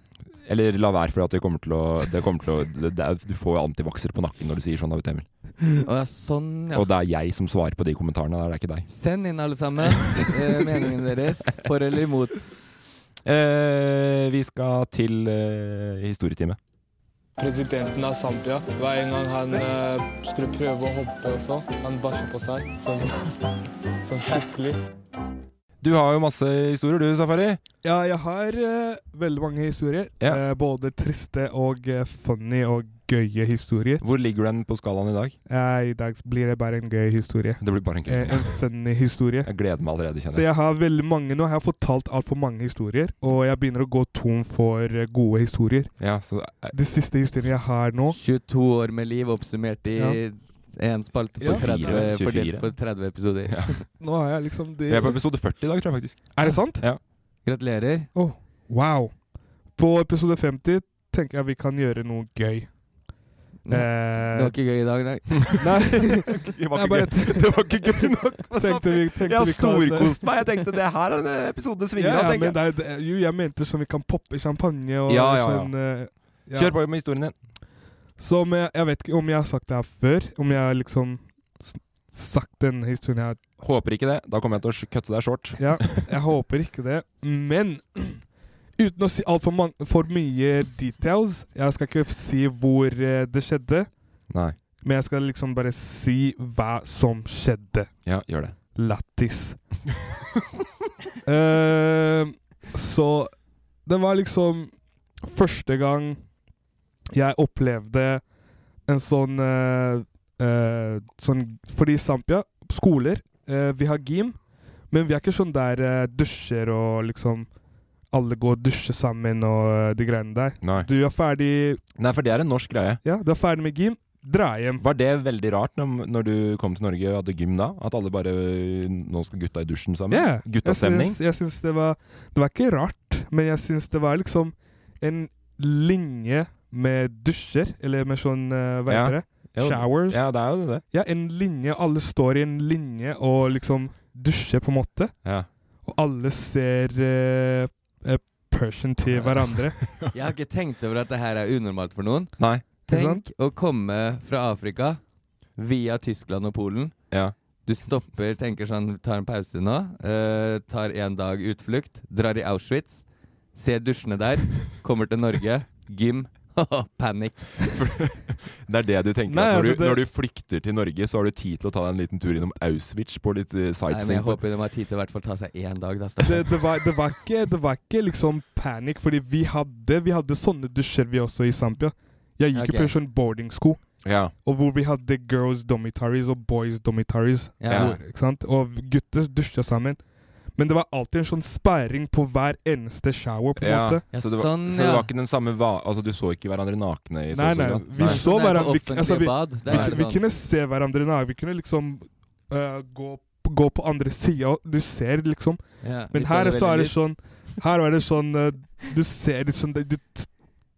S2: Eller la være, for det kommer til å, det kommer til å det, det, er- Du får jo antivakser på nakken når du sier sånn, David Emil.
S4: Å ja, sånn, ja.
S2: Og det er jeg som svarer på de kommentarene der, det er ikke deg.
S4: Send inn alle sammen eh, meningene deres. For eller imot.
S2: Eh, vi skal til eh, historietime.
S6: Presidenten av Zambia, hver en gang han eh, skulle prøve å hoppe og sånn, han bæsja på seg sånn, sånn skikkelig.
S2: Du har jo masse historier du, Safari.
S3: Ja, jeg har eh, veldig mange historier. Eh, både triste og eh, funny og gøye historier.
S2: Hvor ligger den på skalaen i dag?
S3: Eh, I dag blir det bare en gøy historie.
S2: Det blir bare en gøy.
S3: Eh, en funny historie.
S2: Jeg gleder meg allerede,
S3: Så
S2: kjenner
S3: jeg har veldig mange nå. Jeg har fortalt altfor mange historier, og jeg begynner å gå tom for eh, gode historier.
S2: Ja, så eh,
S3: De siste historiene jeg har nå
S4: 22 år med liv oppsummert i
S3: Ja.
S4: én spalte på
S3: Ja.
S4: 30,
S2: 24.
S4: fordelt på 30 episoder.
S3: Nå har jeg liksom de
S2: Jeg er på episode 40 i dag, tror jeg faktisk.
S3: Er det sant?
S2: Ja.
S4: Gratulerer.
S3: Oh, wow. På episode 50 tenker jeg vi kan gjøre noe gøy. Eh,
S4: Nei, Det var ikke gøy i dag, nei.
S3: Nei.
S2: Det var
S3: Jeg
S2: ikke
S3: bare
S2: gøy. Det var ikke gøy nok. hva sa
S3: Tenkte vi-
S2: du? Altså, jeg
S3: tenkte
S2: har
S3: vi kan-
S2: storkost meg. Jeg tenkte det her er en episode svinger
S3: ja,
S2: av,
S3: ja, men
S2: tenker jeg.
S3: det er, det er, jo, jeg mente sånn vi kan poppe champagne og
S2: Ja, ja, ja.
S3: sånn eh, ja.
S2: Kjør på med historien din.
S3: Som jeg, jeg vet ikke om jeg har sagt det her før. Om jeg har liksom s- sagt denne historien her.
S2: Håper ikke det. Da kommer jeg til å kutte deg short.
S3: Ja, jeg håper ikke det. Men uten å si altfor for mye details Jeg skal ikke si hvor eh, det skjedde,
S2: Nei.
S3: men jeg skal liksom bare si hva som skjedde.
S2: Ja, gjør det.
S3: Lattis. Eh, så det var liksom første gang jeg opplevde en sånn eh, eh, Sånn Fordi i Zampia, skoler, eh, vi har gym, men vi er ikke sånn der eh, dusjer og liksom alle går og dusjer sammen og eh, de greiene der.
S2: Nei.
S3: Du er ferdig
S2: Nei, for det er en norsk greie.
S3: Ja, du er ferdig med gym, dra hjem.
S2: Var det veldig rart når, når du kom til Norge og hadde gym da? At alle bare Nå skal gutta i dusjen sammen?
S3: Ja,
S2: Guttastemning?
S3: Jeg syns, jeg syns det var Det var ikke rart, men jeg syns det var liksom en linje med dusjer, eller med sånn eh, Hva
S2: Ja.
S3: heter det?
S2: Ja,
S3: Showers.
S2: ja, det er jo det.
S3: Ja, en linje. Alle står i en linje og liksom dusjer, på en måte.
S2: Ja.
S3: Og alle ser eh, eh, Persian til hverandre.
S4: Jeg har ikke tenkt over at det her er unormalt for noen.
S2: Nei.
S4: Tenk å komme fra Afrika via Tyskland og Polen.
S2: Ja.
S4: Du stopper, tenker sånn, tar en pause nå, eh, tar en dag utflukt, drar i Auschwitz, ser dusjene der, kommer til Norge, gym. Panikk.
S2: Det er det du tenker?
S4: Nei,
S2: at når,
S4: altså,
S2: du,
S4: det-
S2: når du flykter til Norge, så har du tid til å ta deg en liten tur innom Auschwitz på litt eh,
S4: Nei, men
S2: sightseeing?
S4: jeg håper de har tid til i hvert fall ta seg én dag, da.
S3: Det, det, var, det, var ikke, det var ikke liksom panikk, fordi vi hadde, vi hadde sånne dusjer vi også i Zampia. Jeg gikk
S4: Ok.
S3: jo på en sånn boardingsko,
S2: Ja.
S3: og hvor vi hadde girls dormitories og boys dormitories.
S4: Ja.
S3: Hvor, ikke sant? Og gutter dusja sammen. Men det var alltid en sånn sperring på hver eneste shower, på en
S2: Ja,
S3: måte.
S2: så det var,
S4: sånn,
S2: så det var ikke den samme va Altså, du så ikke hverandre nakne i
S3: Nei,
S2: så
S3: nei.
S2: stor grad?
S3: Vi så
S4: Sånn er det på
S3: hverandre vi, altså,
S4: offentlige
S3: vi,
S4: bad, der
S3: vi,
S4: er det
S3: vi
S4: sånn.
S3: kunne se hverandre i nagen. Vi kunne liksom øh, gå, gå på andre sida, og du ser liksom
S4: Ja, vi
S3: Men
S4: så
S3: her
S4: det
S3: så
S4: veldig
S3: er det
S4: likt.
S3: sånn Her er det sånn øh, Du ser litt sånn Du,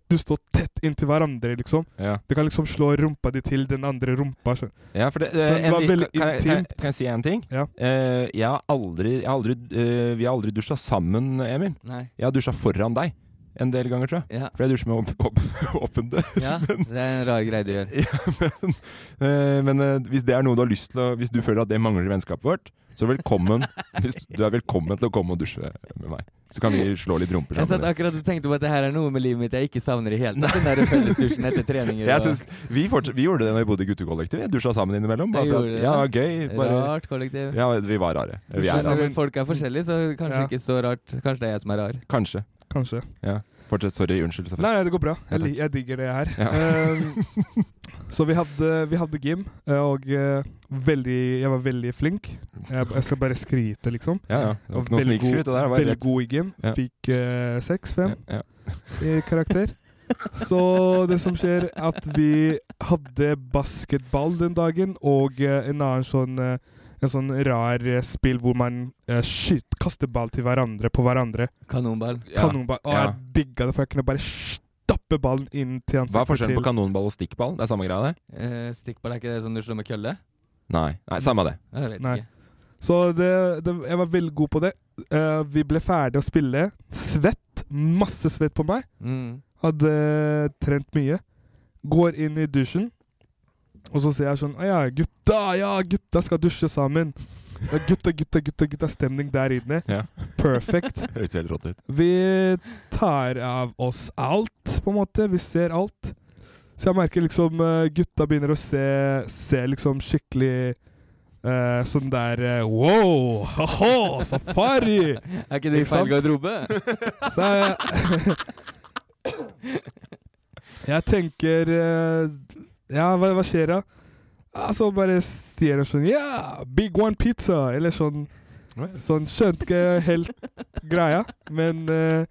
S3: du står tett inntil hverandre, liksom.
S2: Ja.
S3: Du kan liksom slå rumpa di til den andre rumpa. skjønner du.
S2: Ja, for det,
S3: så
S2: eh,
S3: det
S2: en
S3: var
S2: li-
S3: veldig
S2: kan, jeg- kan, jeg-
S3: intimt.
S2: kan jeg si en ting?
S3: Ja.
S2: Eh, jeg har aldri, jeg har aldri eh, Vi har aldri dusja sammen, Emil.
S4: Nei.
S2: Jeg har dusja foran deg en del ganger, tror jeg.
S4: Ja.
S2: For jeg dusjer med åp- åp- åpen dør.
S4: Ja, det er en rar greie du gjør.
S2: Eh, men eh, hvis det er noe du har lyst til å Hvis du føler at det mangler i vennskapet vårt, så velkommen. hvis du er velkommen til å komme og dusje med meg. Så kan vi slå litt rumper
S4: Jeg satt
S2: sammen.
S4: akkurat og tenkte på at det her er noe med livet mitt jeg ikke savner i hele tatt. Den der fellesdusjen etter treninger.
S2: Jeg
S4: og-
S2: synes, vi, forts- vi gjorde det når vi bodde i guttekollektiv. Vi Dusja sammen innimellom. Bare
S4: Jeg
S2: for
S4: gjorde
S2: at,
S4: det.
S2: ja, gøy. Bare,
S4: Rart kollektiv.
S2: ja, vi var rare. Vi
S4: Men
S2: er rare.
S4: Når folk er forskjellige, så kanskje
S3: Ja.
S4: ikke så rart. Kanskje det er jeg som er rar.
S2: Kanskje.
S3: Kanskje.
S2: Ja. Fortsett. Sorry. Unnskyld. Safari.
S3: Nei, nei, det går bra. Jeg,
S2: Ja,
S3: li- jeg digger det her.
S2: Ja.
S3: Ehm, så vi hadde, vi hadde gym, eh, og eh, veldig, jeg var veldig flink. Jeg, jeg skal bare skryte, liksom.
S2: Ja, ja. Det var
S3: Og
S2: ikke noe
S3: veldig god-
S2: snikskryt. Det der var
S3: Veldig
S2: rett.
S3: god i gym.
S2: Ja.
S3: Fikk eh, seks, fem
S2: Ja,
S3: i karakter. Så det som skjer, er at vi hadde basketball den dagen, og eh, en annen sånn eh, en sånn rar eh, spill hvor man eh, skyter, kaster ball til hverandre på hverandre.
S4: Kanonball.
S2: ja.
S3: Kanonball. Og
S2: Ja.
S3: jeg digga det, for jeg kunne bare stappe ballen inn til ansiktet
S2: Hva er forskjellen
S3: til
S2: på kanonball og stikkball? Det er samme greia, det?
S4: Eh, stikkball, er ikke det sånn du slår med kølle?
S2: Nei, Nei samme det.
S4: Jeg vet
S3: Nei.
S4: ikke.
S3: Så det, det, jeg var veldig god på det. Eh, vi ble ferdig å spille. Svett. masse svett på meg.
S4: Mm.
S3: Hadde eh, trent mye. Går inn i dusjen, og så ser jeg sånn «Å Ja, gutta, ja, gutta skal dusje sammen. Ja, gutta, gutta, gutta, gutta. Stemning der inne.
S2: Ja.
S3: Perfect.
S2: Høres helt rått ut.
S3: Vi tar av oss alt, på en måte. Vi ser alt. Så jeg merker liksom eh, gutta begynner å se, se liksom skikkelig eh, sånn der eh, Wow! Haha! Safari!
S4: Er ikke det i feil
S3: sant?
S4: garderobe?
S3: Så jeg Jeg tenker eh, Ja, hva, hva skjer da? Ja, Så bare sier de sånn Ja, big one pizza! Eller sånn. Sånn skjønte ikke helt greia, men eh,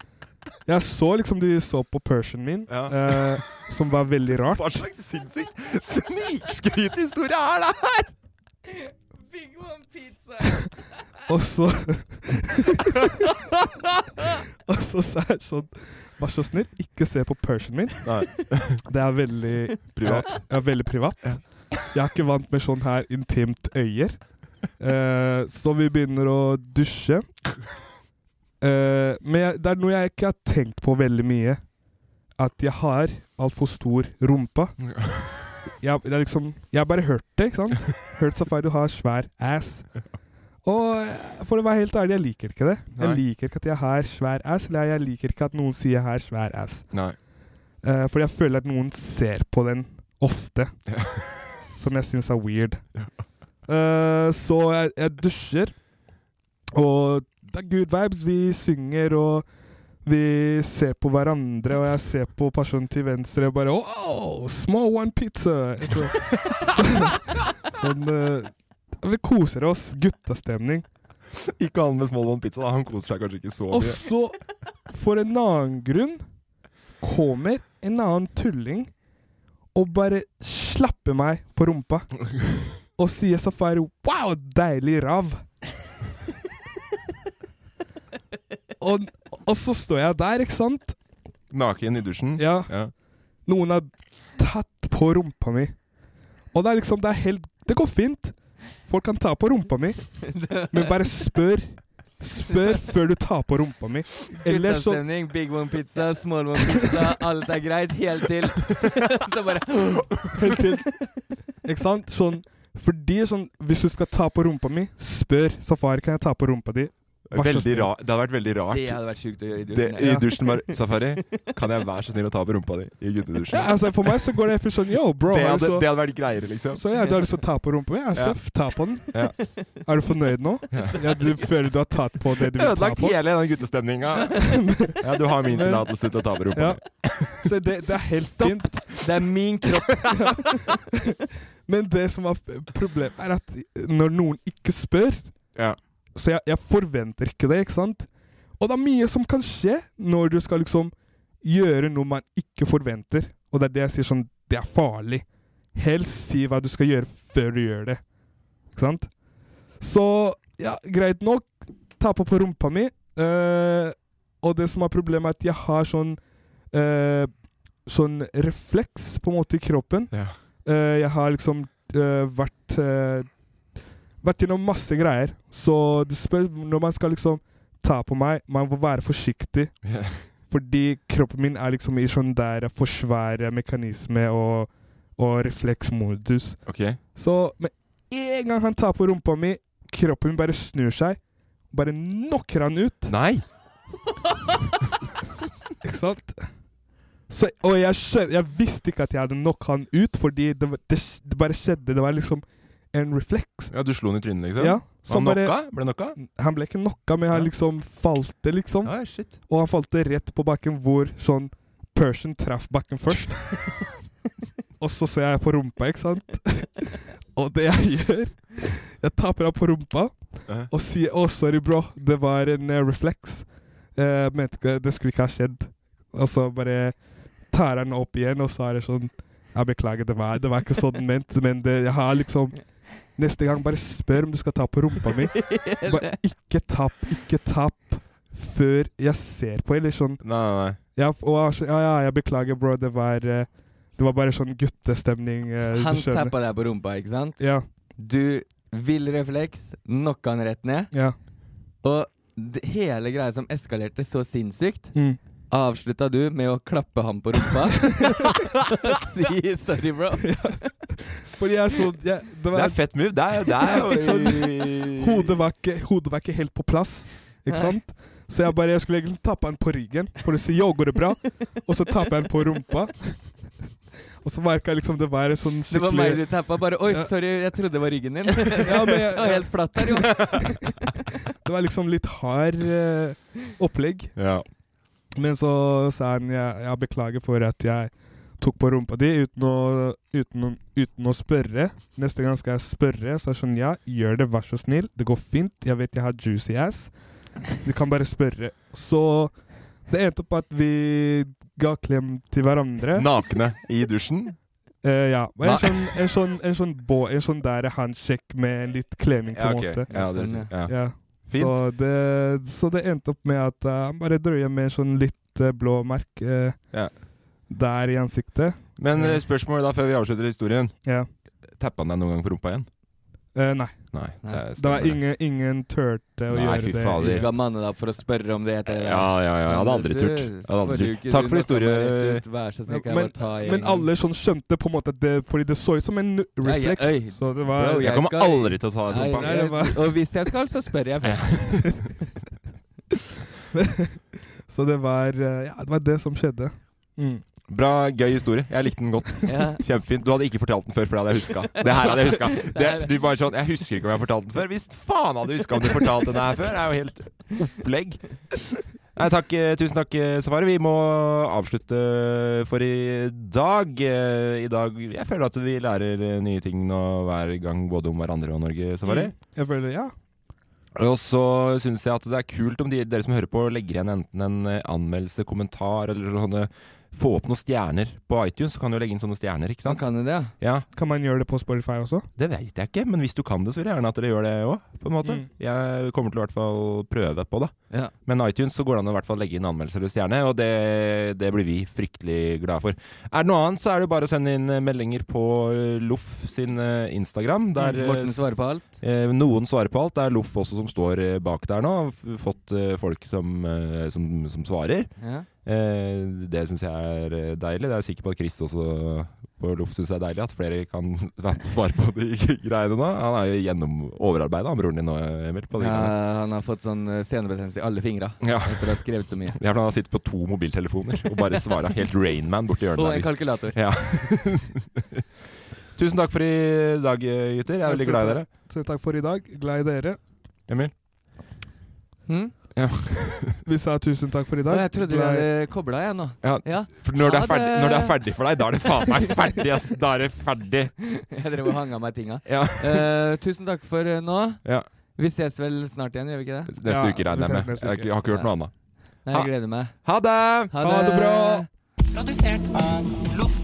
S3: jeg så liksom de så på Persian min, eh, som var veldig rart.
S2: Hva slags sinnssykt snikskrythistorie er det her?!
S4: Big one pizza.
S3: Og så Og så sa jeg sånn Vær så snill, ikke se på Persian min. Det er veldig
S2: Privat.
S3: Ja, veldig privat. Jeg er ikke vant med sånn her intimt øyer. Eh, så vi begynner å dusje. Eh, men jeg, det er noe jeg ikke har tenkt på veldig mye. At jeg har altfor stor rumpa. Jeg, det er liksom, jeg har bare hørt det, ikke sant? Hørt Safari har svær ass. Og eh, for å være helt ærlig, jeg liker ikke det.
S2: Nei.
S3: Jeg liker ikke at jeg har svær ass, eller jeg liker ikke at noen sier jeg har svær ass.
S2: Nei.
S3: Eh, fordi jeg føler at noen ser på den ofte, som jeg syns er weird. Eh, så jeg, jeg dusjer, og det er good vibes. Vi synger, og vi ser på hverandre, og jeg ser på personen til venstre og bare Wow, small one pizza! Så, så, sånn eh, Vi koser oss. Guttastemning.
S2: Ikke han med small one pizza, da. Han koser seg kanskje ikke så
S3: Og
S2: mye.
S3: så, for en annen grunn, kommer en annen tulling og bare slapper meg på rumpa. Og sier Safari 'wow, deilig rav'. og, og så står jeg der, ikke sant?
S2: Naken i dusjen.
S3: Ja. Noen har tatt på rumpa mi. Og det er liksom Det er helt Det går fint. Folk kan ta på rumpa mi, men bare spør. Spør før du tar på rumpa mi. Ellers så
S4: Guttastemning, big one pizza, small one pizza, alt er greit, helt til. Så bare
S3: Helt til. Ikke sant? Sånn Fordi sånn Hvis du skal ta på rumpa mi, spør Safari kan jeg ta på rumpa di. Vær
S2: Veldig
S3: så snill.
S2: ra det hadde vært veldig rart.
S4: Det hadde vært sjukt å gjøre i dusjen,
S2: Det,
S4: ja.
S2: I dusjen bare Safari, kan jeg være så snill å ta på rumpa di i guttedusjen?
S3: Ja, altså For meg så går det for sånn Yo, bro.
S2: det,
S3: har du
S2: hadde,
S3: så-
S2: det hadde vært greiere, liksom.
S3: Så ja, du har lyst til å ta på rumpa mi? Ja,
S2: Ja.
S3: Seff, ta på den.
S2: Ja.
S3: Er du fornøyd nå?
S2: Ja.
S3: Ja, du føler du har tatt på det du vil ta
S2: Ødelagt
S3: på?
S2: hele den guttestemninga. Ja, du har min
S3: Men-
S2: tillatelse til å ta på rumpa
S3: Ja.
S2: di.
S3: Så det, det er helt fint.
S4: Det er min kropp.
S3: Men det som er f- problemet, er at når noen ikke spør
S2: Ja.
S3: Så jeg, jeg forventer ikke det, ikke sant? Og det er mye som kan skje når du skal liksom gjøre noe man ikke forventer. Og det er det jeg sier sånn Det er farlig. Helst si hva du skal gjøre før du gjør det. Ikke sant? Så ja, greit nok. Tappa på rumpa mi. Eh, og det som er problemet, er at jeg har sånn eh, Sånn refleks på en måte i kroppen.
S2: Ja.
S3: Eh, jeg har liksom eh, vært eh, vært gjennom masse greier. Så du spør når man skal liksom ta på meg Man må være forsiktig.
S2: Ja.
S3: Fordi kroppen min er liksom i sånn der forsvære mekanisme og, og refleksmodus.
S2: Ok.
S3: Så med en gang han tar på rumpa mi, kroppen min bare snur seg. Bare knocker han ut.
S2: Nei!
S3: Ikke sant? Så, og jeg, skjøn, jeg visste ikke at jeg hadde knocka han ut, fordi det, var- det, sk- det bare skjedde. Det var liksom en refleks.
S2: Ja, Du slo den i trynet, liksom?
S3: Ja,
S2: han
S3: som bare-
S2: knocka? Ble knocka?
S3: Han ble ikke knocka, men han liksom falte, liksom.
S2: Ja, shit.
S3: Og han falte rett på bakken hvor sånn Persian traff bakken først. og så ser jeg på rumpa, ikke sant? og det jeg gjør Jeg taper av på rumpa
S2: Ja.
S3: og sier 'Å, sorry, bro. Det var en eh, refleks. Jeg mente ikke Det skulle ikke ha skjedd.' Og så bare tar han opp igjen, og så er det sånn 'Jeg beklager, det var, det var ikke sånn ment, men det, jeg har liksom Neste gang, bare spør om du skal ta på rumpa mi. Bare ikke tapp, ikke tapp før jeg ser på, eller sånn
S2: Nei, nei, nei.
S3: ja, f- og han skjø- ja, ja, jeg beklager, bro. Det var, eh, det var bare sånn guttestemning. eh,
S4: Han
S3: du skjønner.
S4: tappa deg på rumpa, ikke sant?
S3: Ja,
S4: Du vill refleks, knocka han rett ned.
S3: ja.
S4: Og d- hele greia som eskalerte så sinnssykt,
S3: Mm.
S4: avslutta du med å klappe ham på rumpa. si sorry, bro.
S3: Fordi jeg så jeg,
S2: Det er fett move. Det er, det er jo
S3: Sånn, hodet, var ikke, hodet var ikke helt på plass, ikke
S2: Nei.
S3: sant? Så jeg bare, jeg skulle egentlig tappe han på ryggen for å si 'yo, går det bra?' Og så tapper jeg han på rumpa. Og så merka jeg liksom det var en sånn
S4: Det var meg du
S3: skikkelig
S4: tappa. Bare Oi,
S3: Ja.
S4: sorry, jeg trodde det var ryggen din.
S3: Ja, men jeg-
S4: det var helt flatt her, jo.
S3: Det var liksom litt hard eh, opplegg.
S2: Ja.
S3: Men så sa han jeg, jeg beklager for at jeg tok på rumpa di uten å, uten, å, uten å spørre. Neste gang skal jeg spørre. Så jeg sånn, ja, gjør det, vær så snill. Det går fint. Jeg vet jeg har juicy ass. Du kan bare spørre. Så det endte opp at vi ga klem til hverandre.
S2: Nakne i dusjen.
S3: Eh, ja. Og En
S2: Nei.
S3: sånn, en sånn, en sånn, bå, en sånn der handshake med litt klemming, på
S2: Ja,
S3: en
S2: ok.
S3: måte.
S2: Ja, det er- ja. Fint.
S3: Så, det, så det endte opp med at eh, han bare drøya med en sånn litt eh, blå merk eh,
S2: Ja.
S3: der i ansiktet.
S2: Men eh, spørsmålet da, før vi avslutter historien.
S3: Ja.
S2: Tappa han deg noen gang på rumpa igjen?
S3: Eh, nei.
S2: Nei, det er-
S3: Det var ingen, ingen turte å
S2: Nei,
S3: gjøre
S2: fy
S3: det.
S2: fader.
S4: Du skal manne deg opp for å spørre om det heter
S2: Ja, ja, ja. Jeg hadde aldri turt. Jeg hadde aldri turt. Takk for historie.
S4: Vær så snill, kan jeg
S3: Men,
S4: bare ta en
S3: men alle sånn skjønte på en måte at det, Fordi det så ut som en refleks.
S4: Ja, ja, øy.
S3: så det var
S4: Bro,
S2: Jeg kommer
S4: skal-
S2: aldri til å ta
S4: Nei,
S2: rumpa.
S4: jeg-
S3: det var-
S4: Og hvis jeg skal, så spør jeg først.
S3: Så det var, eh, ja, det var det som skjedde. Mm.
S2: Bra, gøy historie. Jeg likte den godt.
S4: Ja.
S2: Kjempefint. Du hadde ikke fortalt den før, for det hadde jeg huska. Det her hadde jeg huska. Det, du bare sånn Jeg husker ikke om jeg har fortalt den før. Visst faen hadde du huska om du fortalte den her før. Det er jo helt opplegg. Nei, takk, eh, tusen takk, eh, Safari. Vi må avslutte eh, for i dag. Eh, I dag Jeg føler at vi lærer eh, nye ting nå hver gang, både om hverandre og Norge, Safari.
S3: Mm. Jeg føler, ja.
S2: Og så syns jeg at det er kult om de, dere som hører på, legger igjen enten en eh, anmeldelse, kommentar eller sånne Få opp noen stjerner på iTunes, så kan du legge inn sånne stjerner, ikke sant?
S4: Kan du det?
S2: Ja,
S3: Kan man gjøre det på Spotify også?
S2: Det veit jeg ikke, men hvis du kan det, så vil jeg gjerne at dere gjør det òg, på en måte.
S3: Mm.
S2: Jeg kommer til å i hvert fall prøve på det.
S4: Ja.
S2: Men iTunes så går det an å i hvert fall legge inn anmeldelse eller stjerne, og det, det blir vi fryktelig glade for. Er det noe annet, så er det jo bare å sende inn eh, meldinger på eh, Loff sin eh, Instagram. Der, eh,
S4: Mm, Morten svarer på alt.
S2: Eh, noen svarer på alt. Det er Loff også som står eh, bak der nå. F- Fått eh, folk som, eh, som, som svarer.
S4: Ja.
S2: Eh, det syns jeg er eh, deilig. Det er jeg sikker på at Chris også på Loff syns det er deilig. At flere kan være med og svare på de greiene nå. Han er jo gjennom overarbeida, han broren din nå, Emil. På de
S4: Ja,
S2: greiene.
S4: han har fått sånn eh, senebetennelse i alle fingra
S2: Ja.
S4: etter å ha skrevet så mye.
S2: Ja, for han har sittet på to mobiltelefoner og bare svara helt Rainman borti hjørnet.
S4: Og
S2: der.
S4: en kalkulator.
S2: Ja. Tusen takk for i dag, gutter. Jeg er veldig glad i dere.
S3: Så takk for i dag. Glad i dere.
S2: Emil?
S4: Hm?
S2: Ja.
S3: Vi sa tusen takk for i dag.
S4: Å, jeg trodde vi
S3: Glad i-
S4: hadde kobla, jeg nå.
S2: Ja,
S4: Ja.
S2: For når det,
S4: Ha
S2: er ferdig,
S4: det.
S2: når det er ferdig for deg, da er det faen meg ferdig, ass. Da er det ferdig.
S4: Jeg drev og hang av meg tinga.
S2: Ja.
S4: Eh, tusen takk for eh, nå.
S2: Ja.
S4: Vi ses vel snart igjen, gjør vi ikke det?
S2: Neste
S3: Ja,
S2: uke
S3: vi
S2: regner
S3: ses
S2: jeg med.
S3: neste
S2: Jeg har ikke- har ikke hørt noe annet.
S4: Nei, jeg gleder meg.
S2: Ha det!
S3: Ha det bra!
S7: Produsert av Loff.